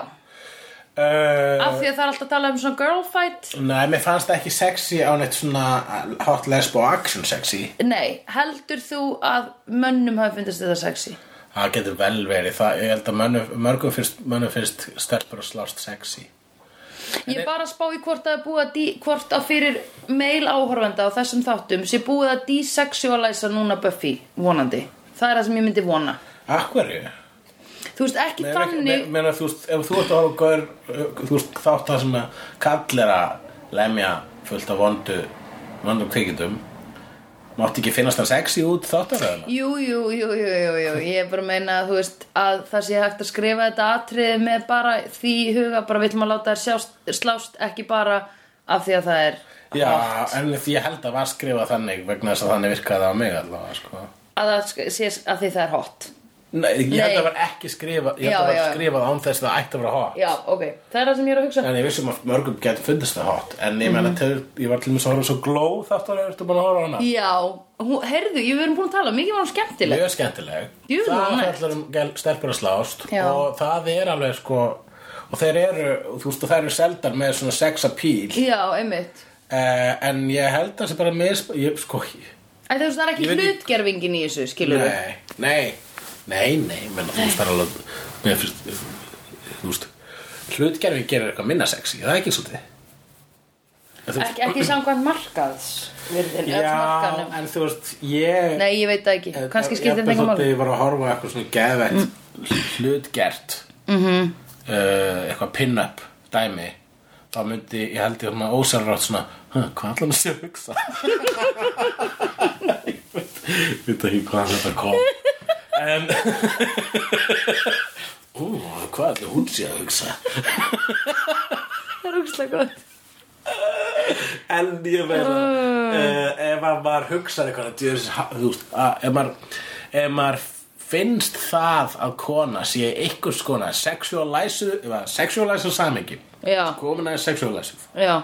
Speaker 2: uh,
Speaker 1: Af því að það er alltaf að tala um svona girl fight
Speaker 2: Nei, mér fannst það ekki sexy á neitt svona hot lesbo action sexy
Speaker 1: Nei, heldur þú að mönnum hafi fundist þetta sexy?
Speaker 2: Það getur vel verið, það, ég held að mönnum, mörgum finnst, mönnum finnst stelpur að slást sexy
Speaker 1: Ég er bara að spá í hvort að búa dí- hvort að fyrir meil áhorfenda á þessum þáttum sé búið að desexualæsa núna Buffy, vonandi. Það er það sem ég myndi vona.
Speaker 2: Akkurju?
Speaker 1: Þú veist, ekki þannig...
Speaker 2: Meina þú veist, ef þú ert að horfa á gaur, uh, þú veist þátt það sem að kall er að lemja fullt af vondu, vondum kvikindum Mátti ekki finnast það sexy út þáttaröðuna?
Speaker 1: Jú, jú, jú, jú, jú, jú, ég er bara að meina að þú veist að það sé hægt að skrifa þetta atriði með bara því í huga, bara vill maður láta þær sjást, slást ekki bara af því að það er
Speaker 2: Já, en því ég held að var skrifað þannig vegna þess að þannig virkaði á mig allavega, sko
Speaker 1: að það sk- sé að því það er hot.
Speaker 2: Nei, ég held
Speaker 1: Nei.
Speaker 2: að var ekki skrifað, ég held
Speaker 1: Já,
Speaker 2: að
Speaker 1: já,
Speaker 2: var
Speaker 1: já.
Speaker 2: skrifað án þess að það ætti að vera hot
Speaker 1: Já, ok, það er það sem ég er að hugsa.
Speaker 2: En ég vissum að mörgum getur fundist það hot En ég
Speaker 1: Mhm.
Speaker 2: menna, ég var til mér að horfa á svo gló þáttaröður, ertu búin að horfa á hana?
Speaker 1: Já, hún, heyrðu, ég verðum búin að tala, um mikið var hún skemmtileg
Speaker 2: mjög skemmtileg
Speaker 1: Jú,
Speaker 2: það
Speaker 1: nett.
Speaker 2: fjallar um gæl- stelpur að slást
Speaker 1: Já.
Speaker 2: og það er alveg sko og þeir eru, þú veist, og þær eru seldar með svona sex appeal
Speaker 1: Já, einmitt
Speaker 2: eh, en ég held að það sé bara mis, ég, sko,
Speaker 1: Æ, þú veist, það er
Speaker 2: Ég
Speaker 1: ekki
Speaker 2: veit ekki-
Speaker 1: hlutgerfingin í þessu, skilur við
Speaker 2: nei nei, nei, nei, menn þú veist, það er alveg mér fyrst, þú veist hlutgerfi gerir eitthvað minna sexy, það er ekki svolítið En þú veist-
Speaker 1: Ekki, ekki samkvæmt markaðs virðin, öll
Speaker 2: Já,
Speaker 1: markanum
Speaker 2: en þú veist, ég
Speaker 1: Nei, ég veit það ekki, kannski skiptir þetta
Speaker 2: mál
Speaker 1: engum
Speaker 2: Þegar
Speaker 1: mál
Speaker 2: ég var að horfa á eitthvað svona geðvett hlutgert
Speaker 1: Mhm.
Speaker 2: -hmm. uh, eitthvað pin-up dæmi þá myndi, ég held ég svona ósælrátt svona "Huh, hvað allan að sé að hugsa Ég veit veit ekki hvað þetta kom en ú, hvað allir hún sé að hugsa
Speaker 1: Það er úkslega gott
Speaker 2: En ég veit að
Speaker 1: Ah.
Speaker 2: uh, ef að maður hugsaði eitthvað djöfis, þú veist, að, ef maður ef maður finnst það að kona sé einhvers konar sexualizu, sexualizu samingi
Speaker 1: Já.
Speaker 2: sko, komin að sexualizu
Speaker 1: Já,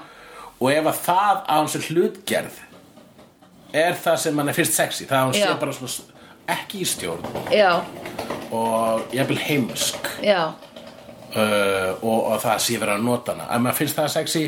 Speaker 2: og ef að það að hún sé hlutgerð er það sem mann er fyrst sexy það að hún
Speaker 1: Já.
Speaker 2: sé bara svona s- ekki í stjórn
Speaker 1: já,
Speaker 2: og jafnvel heimsk
Speaker 1: já
Speaker 2: uh, og, og það sé verið að nota hana ef maður finnst það sexy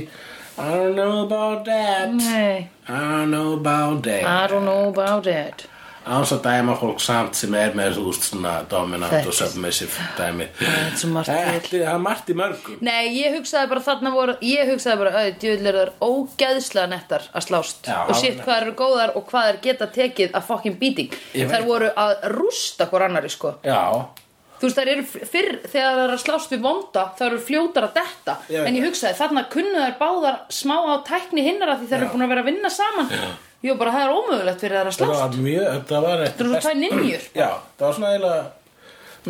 Speaker 2: I don't know about that
Speaker 1: Nei,
Speaker 2: I don't know about that
Speaker 1: I don't know about it
Speaker 2: Án svo dæma fólk samt sem er með þú veist svona dominant
Speaker 1: Þetta-
Speaker 2: og submissive dæmi Það
Speaker 1: er svo margt í öllu.
Speaker 2: Það er margt í mörgum
Speaker 1: Nei, ég hugsaði bara þarna voru Ég hugsaði bara, auðvitað, djöðl eru þar ógeðslega nettar að slást
Speaker 2: Já,
Speaker 1: Og sitt
Speaker 2: alveg.
Speaker 1: hvað þær eru góðar og hvað þær geta tekið að fucking beating
Speaker 2: Ég veit.
Speaker 1: Þær voru að rústa hvort annari, sko
Speaker 2: Já,
Speaker 1: Þú veist, þær eru fyrr, þegar þær eru að slást við vonda, þær eru fljótar að detta.
Speaker 2: Ég veit
Speaker 1: en ég
Speaker 2: það.
Speaker 1: hugsaði, þarna kunnu þær báðar smá á tækni hinnar að því þær eru búin að vera að vinna saman. Já. Jó, bara það er ómögulegt fyrir þær að
Speaker 2: það
Speaker 1: slást.
Speaker 2: var mjög Það var eitt
Speaker 1: Þú eru svo tvær ninjur.
Speaker 2: Já, það var svona eiginlega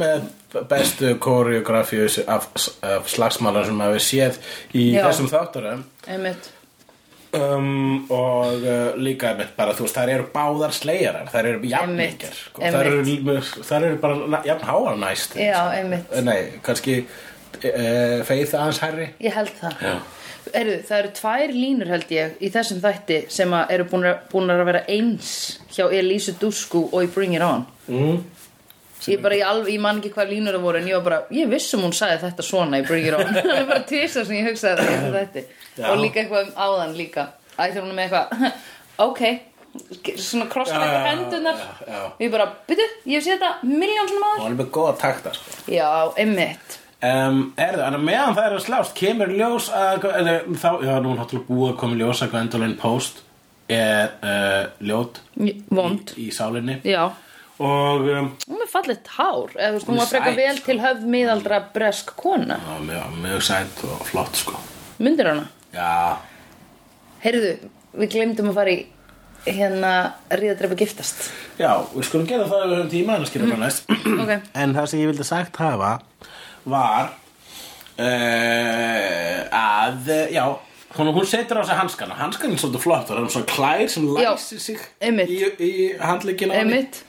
Speaker 2: með bestu koreografíu af, af slagsmálar sem maður hefur séð í
Speaker 1: Já.
Speaker 2: þessum þátturum
Speaker 1: Einmitt.
Speaker 2: um, og uh, líka einmitt bara þú veist þær eru báðar slegjarar þær eru
Speaker 1: Einmitt,
Speaker 2: jafnmikjar sko. þær,
Speaker 1: einmitt.
Speaker 2: eru- þær eru bara jafn háar næst
Speaker 1: Já, einmitt.
Speaker 2: sko. Eh, Nei, kannski uh, feið aðeins herri
Speaker 1: Ég held það Heyrðu, það eru tvær línur held ég í þessum þætti sem að eru búnar, búnar að vera eins hjá Elísu Dusku og í Bring It On
Speaker 2: mm.
Speaker 1: Ég, bara, ég, alveg, ég man ekki hvað línur það voru en ég var bara, ég vissum hún sagði þetta svona í Bring It On Það er bara tvisar sem ég hugsaði þetta í þætti
Speaker 2: Já.
Speaker 1: Og líka eitthvað um áðan líka Æ, þegar hún er með eitthvað Ok, svona
Speaker 2: Já, já,
Speaker 1: krosslega
Speaker 2: já,
Speaker 1: hendunar
Speaker 2: já, já.
Speaker 1: Ég bara, byrju, ég hef séð þetta miljón svona
Speaker 2: og
Speaker 1: maður
Speaker 2: hann er með góða takta sko.
Speaker 1: Já, einmitt
Speaker 2: um, er það, en meðan það er að slást kemur í ljós að, eða, þá, já, nú er náttúrulega búið að koma í ljós að Gwendolyn Post er uh, ljót
Speaker 1: Vond,
Speaker 2: í sálinni
Speaker 1: já
Speaker 2: og um,
Speaker 1: Hún er fallegt hár, eða þú veist, hún
Speaker 2: Hún er
Speaker 1: var frekar
Speaker 2: sæt,
Speaker 1: vel
Speaker 2: sko.
Speaker 1: til höfð miðaldra bresk kona.
Speaker 2: já, mjög, mjög sætt og flott sko
Speaker 1: Myndir hana?
Speaker 2: já,
Speaker 1: Heyrðu, við glemdum að fara í hérna ríðadreipa giftast.
Speaker 2: já, við skulum gera það ef við höfum tíma en það skilur bara næst
Speaker 1: Ok.
Speaker 2: en það sem ég vildi sagt hafa var uh, að eh, já, hún, hún setur á sig hanskana hanskana er svolítið flott, það er um svona klær sem
Speaker 1: Já,
Speaker 2: læsir sig
Speaker 1: einmitt.
Speaker 2: í, í handleggina á henni.
Speaker 1: Einmitt,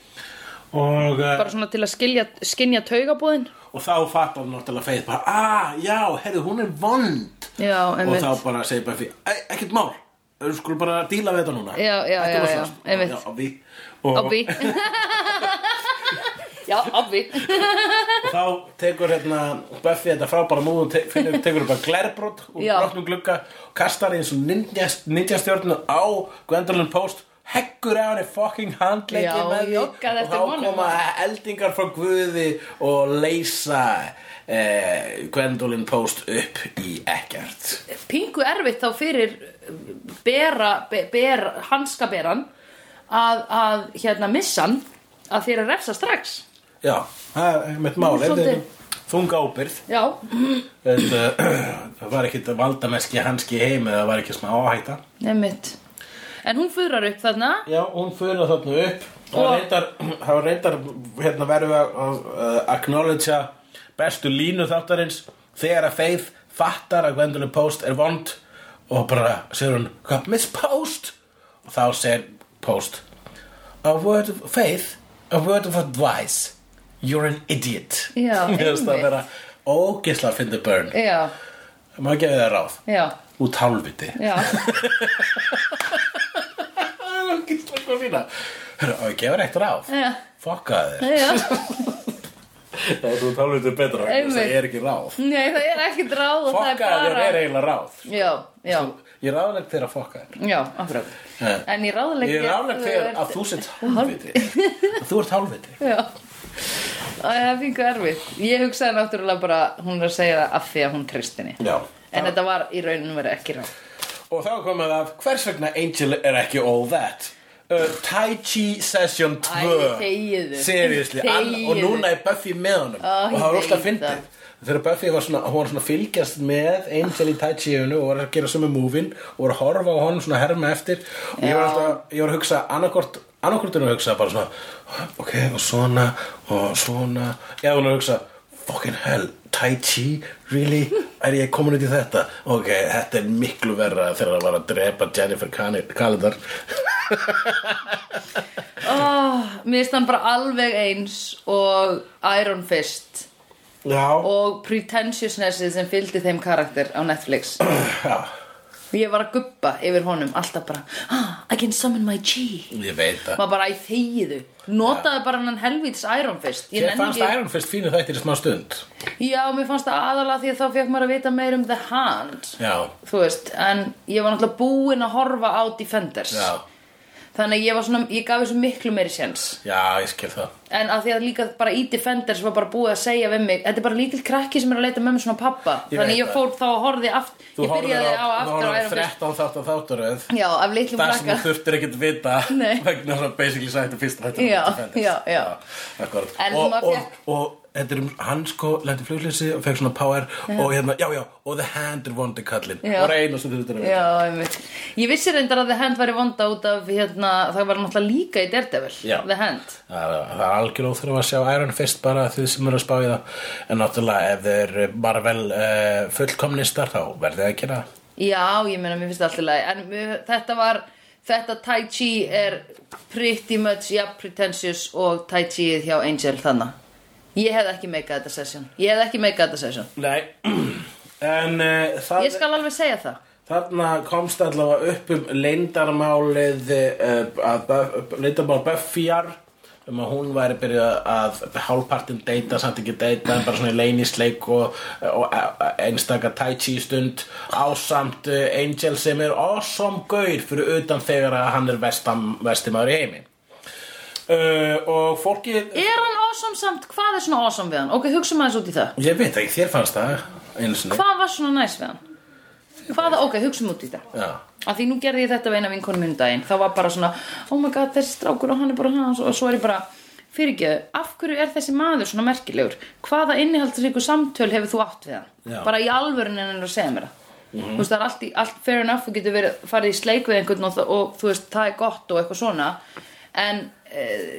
Speaker 2: og, eh,
Speaker 1: bara svona til að skilja, skinja taugabúðin.
Speaker 2: og þá fattar hún náttúrulega feið bara, ah, já, herri, hún er vond
Speaker 1: Já,
Speaker 2: og
Speaker 1: einmitt.
Speaker 2: þá bara segir Buffy "Æ, ekkert mál, við skulum bara díla við þetta núna
Speaker 1: Já, já,
Speaker 2: Hættum
Speaker 1: já,
Speaker 2: að
Speaker 1: já,
Speaker 2: slást."
Speaker 1: einmitt.
Speaker 2: já, obvi. og
Speaker 1: Obbi. Já, obbi.
Speaker 2: þá tekur hérna Buffy þetta frábæra múð og te finnur, tekur bara glerbrot úr
Speaker 1: Já.
Speaker 2: brotnum glugga og kastar eins og ninja, ninja stjórnu á Gwendolyn Post heggur á henni fucking handleggi
Speaker 1: Já,
Speaker 2: með því
Speaker 1: joggað
Speaker 2: og
Speaker 1: eftir
Speaker 2: þá
Speaker 1: honum.
Speaker 2: koma eldingar frá Guði og leysa eh, Gwendolyn Post upp í ekkert
Speaker 1: Pingu erfitt þá fyrir bera, be, ber, hanskaberan að, að hérna missan að þér að refsa strax.
Speaker 2: já, það er mitt mál
Speaker 1: Nú,
Speaker 2: þetta er
Speaker 1: svolítið.
Speaker 2: þunga ábyrð
Speaker 1: Já,
Speaker 2: þetta, það var ekkit valdameski hanski heim eða það var ekki smá áhætta
Speaker 1: Einmitt. En hún fyrir upp þarna
Speaker 2: Já, hún fyrir þarna upp Það
Speaker 1: Og-
Speaker 2: var reyndar, það var reyndar hérna, verðum við að- að að acknowledgea bestu línu þáttarins þegar að Faith fattar að Gwendolyn Post er vond og bara segir hún, hvað, Miss Post? Og þá segir Post A word of Faith, a word of advice You're an idiot
Speaker 1: Já,
Speaker 2: Mér finnst það
Speaker 1: einmitt.
Speaker 2: vera ógisla að finna burn
Speaker 1: Já,
Speaker 2: Má gefið það ráð
Speaker 1: já,
Speaker 2: Út hálfviti
Speaker 1: já
Speaker 2: Það er ógisla að finna Hörru, á ég gefa rétt ráð
Speaker 1: Já,
Speaker 2: Fokkaðu þér
Speaker 1: já
Speaker 2: Það er þú tálum þetta betra vegna þess að
Speaker 1: Einmitt.
Speaker 2: Það er ekki ráð
Speaker 1: Nei, það er ekkert ráð og það er
Speaker 2: Fokkaðu þér
Speaker 1: bara
Speaker 2: er eiginlega ráð
Speaker 1: Já, já,
Speaker 2: Ég er ráðlegt þegar að fokka þér
Speaker 1: já, afröf
Speaker 2: Eh.
Speaker 1: En ég ráðleik
Speaker 2: Ég er ráðlegt þegar að þú sett hálfviti Að þú ert hálfviti
Speaker 1: Já Það er fengu erfið Ég hugsaði náttúrulega bara Hún er að segja það af því að hún kristinni
Speaker 2: Já
Speaker 1: En þetta var í rauninu verið ekki ráð
Speaker 2: Og þá komið af hvers vegna Angel er ekki all that uh, Tai Chi Session
Speaker 1: Æ,
Speaker 2: 2
Speaker 1: þegiðu.
Speaker 2: Seriously all, Og
Speaker 1: Þegiðu.
Speaker 2: núna er Buffy með honum
Speaker 1: Ó,
Speaker 2: Og það var
Speaker 1: ég
Speaker 2: óslega
Speaker 1: veit það.
Speaker 2: fyndið Þegar Buffy var svona, hún var svona að fylgjast með Angel í Tai Chi-unu og var að gera sömu múvin og var að horfa á honum svona að herma eftir og ég var
Speaker 1: Já.
Speaker 2: alltaf, ég var að hugsa annarkort annarkortinu að hugsa bara svona ok, og svona, og svona eða hún er að hugsa, fucking hell Tai Chi, really? Er ég komin út í þetta? Ok, þetta er miklu verra þegar það var að drepa Jennifer Cani- Calendar
Speaker 1: oh, Mér finnst hann bara alveg eins Og Iron Fist
Speaker 2: Já,
Speaker 1: Og pretentiousnessið sem fylgdi þeim karakter á Netflix
Speaker 2: já
Speaker 1: Ég var að guppa yfir honum alltaf bara ah, I can summon my chi
Speaker 2: Ég veit það
Speaker 1: Maður bara í þegiðu Notaði bara hann helvítis Iron Fist Ég
Speaker 2: Ég
Speaker 1: nenni
Speaker 2: fannst Iron Fist fínu þættir í smá stund
Speaker 1: Já, mér fannst það aðalega því að þá fekk maður að vita meir um The Hand
Speaker 2: Já,
Speaker 1: Þú veist, en ég var náttúrulega búin að horfa á Defenders
Speaker 2: já,
Speaker 1: Þannig að ég var svona, ég gaf þessu miklu meiri séns
Speaker 2: já, ég skil það
Speaker 1: En að því að líka bara í Defenders var bara búið að segja við mig Þetta er bara lítill krakki sem er að leita með mér svona pappa
Speaker 2: Ég
Speaker 1: Þannig
Speaker 2: veit
Speaker 1: ég
Speaker 2: það.
Speaker 1: fór þá að horfi aft
Speaker 2: Þú
Speaker 1: Ég
Speaker 2: horfir
Speaker 1: byrjaði á aftur
Speaker 2: á, þú
Speaker 1: á
Speaker 2: horfir á
Speaker 1: Iron Fist
Speaker 2: 13 þátt og þáttaröð
Speaker 1: Já, af litlum
Speaker 2: Það sem
Speaker 1: krakka
Speaker 2: þú þurftir ekkert vita
Speaker 1: Nei.
Speaker 2: vegna þess að basically sættu fyrst þetta
Speaker 1: Já, já, já.
Speaker 2: Akkurat
Speaker 1: En
Speaker 2: og,
Speaker 1: maður
Speaker 2: og,
Speaker 1: fékk-
Speaker 2: og þetta er um hann sko lendi fluglýsi og fekk svona power og hérna, já, já, og the hand er vondi kallinn
Speaker 1: Já.
Speaker 2: og reyn og svo þurftir að vita
Speaker 1: Já, einmitt. Ég vissi reyndar að The Hand væri vonda út af hérna, það var náttúrulega líka í Daredevil,
Speaker 2: Já.
Speaker 1: The Hand.
Speaker 2: Það er- það er algjör óþurfa að sjá Iron Fist bara þau sem eru að spá í það en náttúrulega ef þeir eru Marvel uh, fullkomnistar þá verðið að gera það.
Speaker 1: Já, ég meina, mér finnst það alltaf leið, en mér, þetta var, þetta Tai Chi er pretty much, já, pretentious og Tai Chi hjá Angel þannig. Ég hefði ekki meikað þetta sesjón Ég hefði ekki meikað þetta sesjón
Speaker 2: Nei, en uh, það,
Speaker 1: Ég skal alveg segja það
Speaker 2: þarna komst allavega upp um leindarmálið, uh, leindarmál Buffyar, um að hún væri byrjuð að hálfpartin deyta, samt ekki deyta, en bara svona í leynisleik og, og eh, einstaka tai chi stund ásamt uh, Angel sem er awesome gaur fyrir utan þegar að hann er vestam, vestimæður í heimi. Uh, og fólkið,
Speaker 1: Er hann awesome samt? Hvað er svona awesome við hann? Ok, hugsa maður út í það
Speaker 2: ég veit ekki, þér fannst það einu sinni.
Speaker 1: Hvað var svona næs við hann? Hvaða, ok, hugsa út í það
Speaker 2: Já.
Speaker 1: Af því nú gerði ég þetta við eina vinkonum minn um daginn Það var bara svona, oh my god, þessi strákur og hann er bara hann Og svo er ég bara, fyrirgeðu, af hverju er þessi maður svona merkilegur? Hvaða innihaldsríku samtöl hefur þú átt við hann?
Speaker 2: Já. Mhm.
Speaker 1: Bara í alvörun en að segja mér það Þú veist, það er allt, í, allt fair enough Þú getur verið, farið í sleik við einhvern og, það- og þú veist, það er gott og eitthvað svona En uh,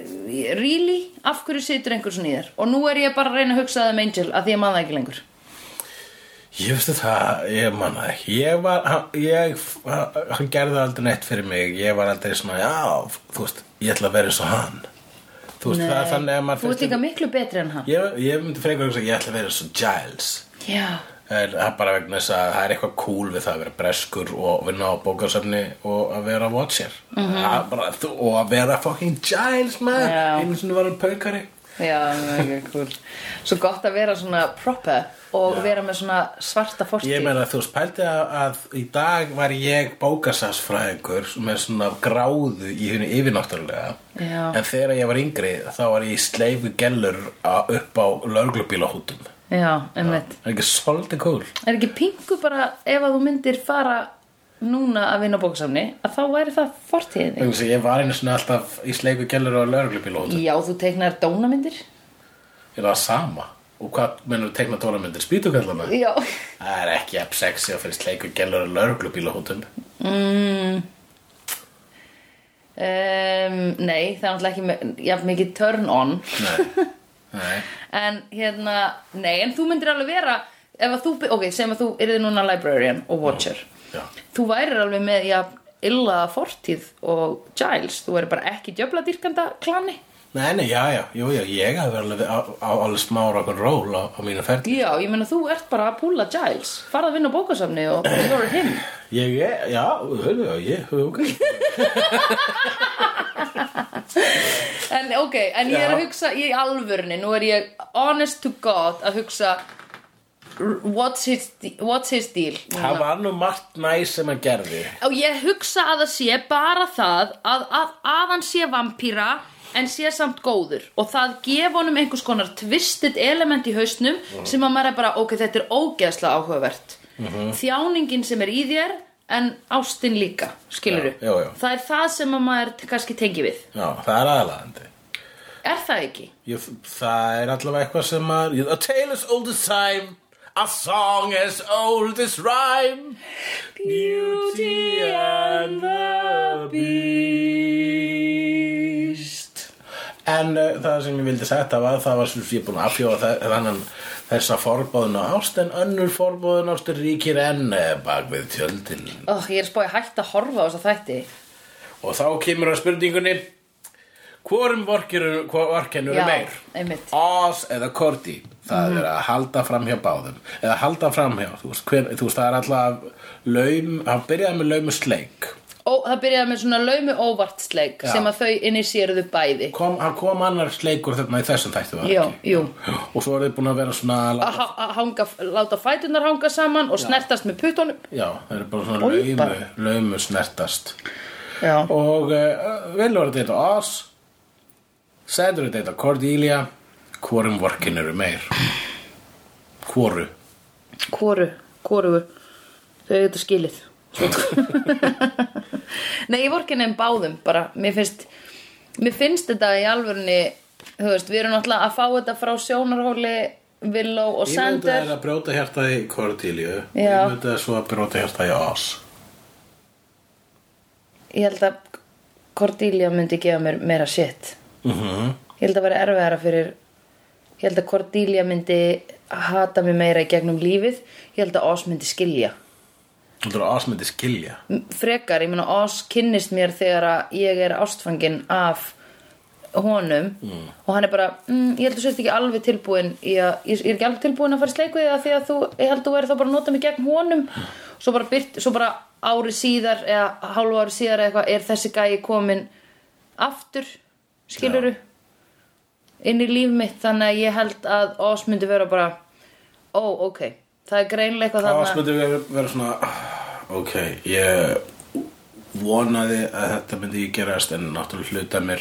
Speaker 1: really, af hverju situr einhver svona í þér? Og nú er ég bara að reyna að hugsa það um Angel að því ég man það ekki lengur
Speaker 2: Ég veistu það, ég manna ekki Ég var, hann, ég, hann gerði aldrei neitt fyrir mig Ég var aldrei svona, já, þú veist Ég ætla að vera eins og hann Þú veist, það er þannig að maður
Speaker 1: Þú ert líka miklu betri en hann
Speaker 2: ég, ég myndi frekar að ég ætla að vera eins og Giles
Speaker 1: Já,
Speaker 2: En það er bara vegna þess að það er eitthvað cool við það að vera breskur og vinna á bókasöfni og að vera watcher
Speaker 1: Mhm.
Speaker 2: mm -hmm. bara, þú, og að vera fucking Giles maður,
Speaker 1: Já.
Speaker 2: einu sinni var hann paukari
Speaker 1: já, mjög cool Svo gott að vera svona proper og vera með svona svarta
Speaker 2: Ég
Speaker 1: fortíð
Speaker 2: meina þú veist, pældi að, að í dag var ég bókasarsfræðingur með svona gráðu í henni yfirnáttúrulega
Speaker 1: Já.
Speaker 2: en þegar ég var yngri þá var ég í sleifu gellur á- upp á lörglubílahútum Það
Speaker 1: Já, einmitt
Speaker 2: er ekki svolítið cool
Speaker 1: Er ekki pingu bara ef að þú myndir fara núna að vinna á bóksamni að þá væri það fortíðinni
Speaker 2: Þannig að ég var einu svona alltaf í sleifu gellur á lörglubílahútum
Speaker 1: Já, þú teiknar dónamyndir
Speaker 2: Ég er það sama Og hvað mennur teikna tónamyndir spýtukallana?
Speaker 1: Já
Speaker 2: Það er ekki upp sexy að fyrir sleifu gellur á lörglubílahútum
Speaker 1: mm. um, Nei, það er náttúrulega ekki me- jafn mikið turn on
Speaker 2: Nei, nei
Speaker 1: En hérna, nei, en þú myndir alveg vera Ef að þú, by- ok, segjum að þú yrði núna librarian og watcher
Speaker 2: Já,
Speaker 1: Þú værir alveg með, já, illa fortíð og Giles Þú væri bara ekki djöfladýrkanda klani
Speaker 2: Nei, nei, já, já, jú, já, ég hafði verið alveg á, á alveg smá rock'n'roll á, á mínu ferli
Speaker 1: Já, ég meina þú ert bara að púla Giles Farð að vinna á bókasafni og you're him
Speaker 2: Ég er, já, höfðu, já, ég, höfðu, ok
Speaker 1: En ok, en ég er
Speaker 2: Já.
Speaker 1: að hugsa í alvörni Nú er ég honest to god að hugsa r- What's his, de- what's his deal?
Speaker 2: Það var nú margt næs sem hann gerði
Speaker 1: Og ég hugsa að það sé bara það að, að, að hann sé vampíra en sé samt góður og það gef honum einhvers konar tvistit element í hausnum sem að maður er bara, ok, þetta er ógeðslega áhugavert
Speaker 2: Mhm.
Speaker 1: þjáningin sem er í þér en ástin líka, skilurðu
Speaker 2: Já, já, já.
Speaker 1: það er það sem að maður t- kannski tengi við
Speaker 2: Já, það er aðalagandi
Speaker 1: er það ekki?
Speaker 2: ég, Það er allavega eitthvað sem að ég, A tale as old as time A song as old as rhyme Beauty and the Beast En uh, það sem ég vildi setja var það var sem ég er búin að afhjóða þe- þannan þessa forbóðun á ást en önnur forbóðun ást er ríkir enn eh, bak við tjöldin
Speaker 1: Oh, ég er spáði hægt að horfa á þess að þætti
Speaker 2: og þá kemur að spurningunni hvorum vorkenur, vorkenur er meir?
Speaker 1: einmitt
Speaker 2: Oz eða Korti það er að halda fram hjá báðum eða halda fram hjá, þú veist, hver, þú veist það er alltaf laum, hann byrjaði með laumu sleik
Speaker 1: Ó, það byrjaði með svona laumi óvartsleik
Speaker 2: Já.
Speaker 1: sem að þau innisýrðu bæði
Speaker 2: kom, hann kom annar sleikur þarna í þessum þættu var það
Speaker 1: Jú,
Speaker 2: ekki?
Speaker 1: jú
Speaker 2: og svo er þið búin að vera svona
Speaker 1: að
Speaker 2: að-
Speaker 1: ha- að hanga, láta fætunar hanga saman og snertast með puttunum
Speaker 2: já, það er bara svona
Speaker 1: Oj,
Speaker 2: laumu,
Speaker 1: bara.
Speaker 2: laumu snertast
Speaker 1: Já.
Speaker 2: og uh, velur að þetta Oz sendur að þetta Cordelia hvorum vorkin eru meir hvoru
Speaker 1: Hvoru, hvoru þau eru þetta skilið Nei, ég vor ekki nefn báðum bara, mér finnst mér finnst þetta í alvörunni þú veist, við erum náttúrulega að fá þetta frá sjónarhóli Willow og
Speaker 2: Ímyndaðu þér
Speaker 1: Sander
Speaker 2: að brjóta hjartað í Cordelia
Speaker 1: Já.
Speaker 2: Ímyndaðu þér svo að brjóta hjartað í Oz
Speaker 1: ég held að Cordelia myndi gefa mér meira shit
Speaker 2: mm -hmm.
Speaker 1: ég held að vera erfiðara fyrir ég held að Cordelia myndi hata mér meira í gegnum lífið ég held að Oz myndi skilja
Speaker 2: Þú heldur að Oz myndi skilja
Speaker 1: frekar, ég meina Oz kynnist mér þegar að ég er ástfangin af honum og hann er bara, mm, ég held að þú sérst ekki alveg tilbúin í að, ég, ég er ekki alveg tilbúin að fara í sleik við það því að þú, ég held að þú verður þá bara að nota mig gegn honum svo bara, byrt, svo bara ári síðar eða hálfu ári síðar eða eitthvað er þessi gæi komin aftur, skiluru inn í líf mitt þannig að ég held að Oz myndi vera bara ó, ok, það er greinlega eitthvað
Speaker 2: Það
Speaker 1: þarna-
Speaker 2: var smöndið vera, vera svona "Ah, Ok, ég vonaði að þetta myndi ég gerast en náttúrulega hluta mér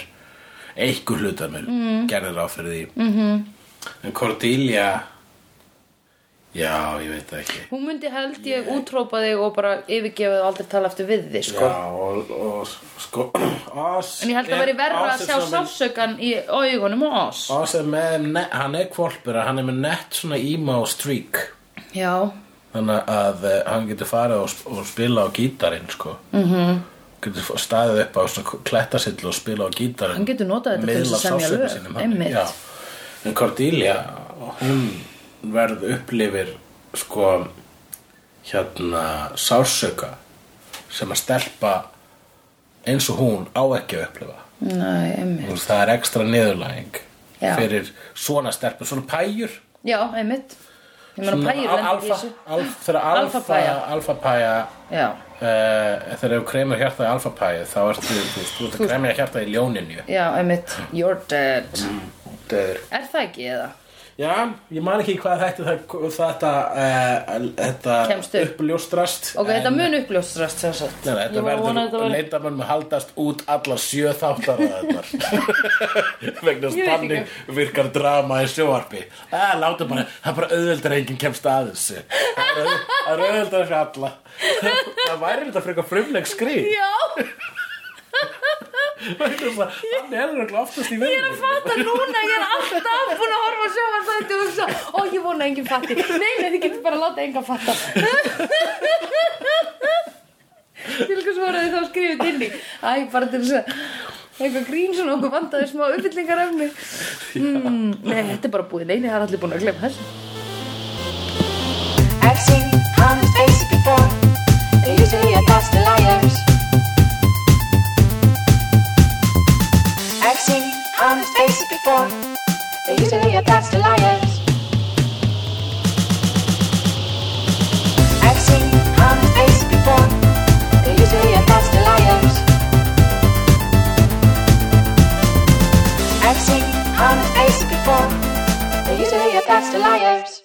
Speaker 2: einhver hluta mér mm. gerði ráð fyrir því -hmm.
Speaker 1: Mhm.
Speaker 2: En Cordelia Já, ég veit það ekki
Speaker 1: Hún myndi held ég útrópa þig og bara yfirgefa þig og aldrei tala aftur við þig, sko.
Speaker 2: Já, og, og sko Oz
Speaker 1: en ég held
Speaker 2: er-
Speaker 1: að veri verra
Speaker 2: Oz
Speaker 1: að
Speaker 2: er
Speaker 1: sjá
Speaker 2: svona með-
Speaker 1: sálsökan í augunum á oss.
Speaker 2: Oz er með, ne- hann er kvolpur hann er með nett svona emo streak
Speaker 1: Já,
Speaker 2: Þannig að eh, hann getur farið og, sp- og spila á gítarinn sko. mm
Speaker 1: Mhm.
Speaker 2: -hmm. Getur f- staðið upp á svona klettasill og spila á gítarinn
Speaker 1: Hann getur notað þetta til þess að semja lög, einmitt.
Speaker 2: einmitt En Cordelia, hún verð upplifir sko hérna sársöka sem að stelpa eins og hún á ekki að upplifa
Speaker 1: næ, einmitt.
Speaker 2: Þú veist, Það er ekstra niðurlæging
Speaker 1: Já.
Speaker 2: fyrir svona stelpur, svona pæjur
Speaker 1: Já, einmitt. Ég meina
Speaker 2: Svona
Speaker 1: pæjur
Speaker 2: al-
Speaker 1: lendir í
Speaker 2: alfa-
Speaker 1: þessu.
Speaker 2: alf- Þegar alfa,
Speaker 1: Alfapæja.
Speaker 2: alfa pæja
Speaker 1: Já,
Speaker 2: uh, Þegar þú kremur hjarta í alfa pæja þá ertu, þú veist, þú ert að kremja hjarta í ljóninu
Speaker 1: já, einmitt. You're dead.
Speaker 2: Döður
Speaker 1: Er það ekki eða?
Speaker 2: Já, ég man ekki hvað þetta, þetta, uh, þetta
Speaker 1: Kemst upp.
Speaker 2: uppljóstrast
Speaker 1: Ok, þetta mun uppljóstrast sem sagt.
Speaker 2: Nei, nei, þetta
Speaker 1: Ég var að vona að þetta
Speaker 2: verður,
Speaker 1: var-
Speaker 2: leitamenn með haldast út allar sjö þáttar að þetta vegna
Speaker 1: Ég veit
Speaker 2: spanni virkar drama í sjóarpi að láta bara, það er bara auðveldar að enginn kemst að þessu það er auð- það er auðveldar fyrir alla það væri þetta frekar frumleg skrið
Speaker 1: Já,
Speaker 2: Vegna þess að hann er auðvitað oftast í
Speaker 1: ég er að
Speaker 2: verðinu
Speaker 1: fatta núna, ég er alltaf búin að horfa að sjóma þetta og hugsa, ó, ég vona að enginn fatti. Nei, nei, þið getur bara að láta engan fatta. til hvers voru þið þá skrifið inn í? Æ, bara til þess að eitthvað grín svona okkur vandaði smá uppfyllingaröfni. Mm, nei, þetta er bara búið. Nei, nei, það er allir búin að glemma þess.
Speaker 3: I've seen honest faces before. They're usually a bunch of liars. I've seen honest faces before. They're usually a bunch of liars. I've seen honest faces before. They're usually a bunch of liars. I've seen honest faces before. They're usually a bunch of liars.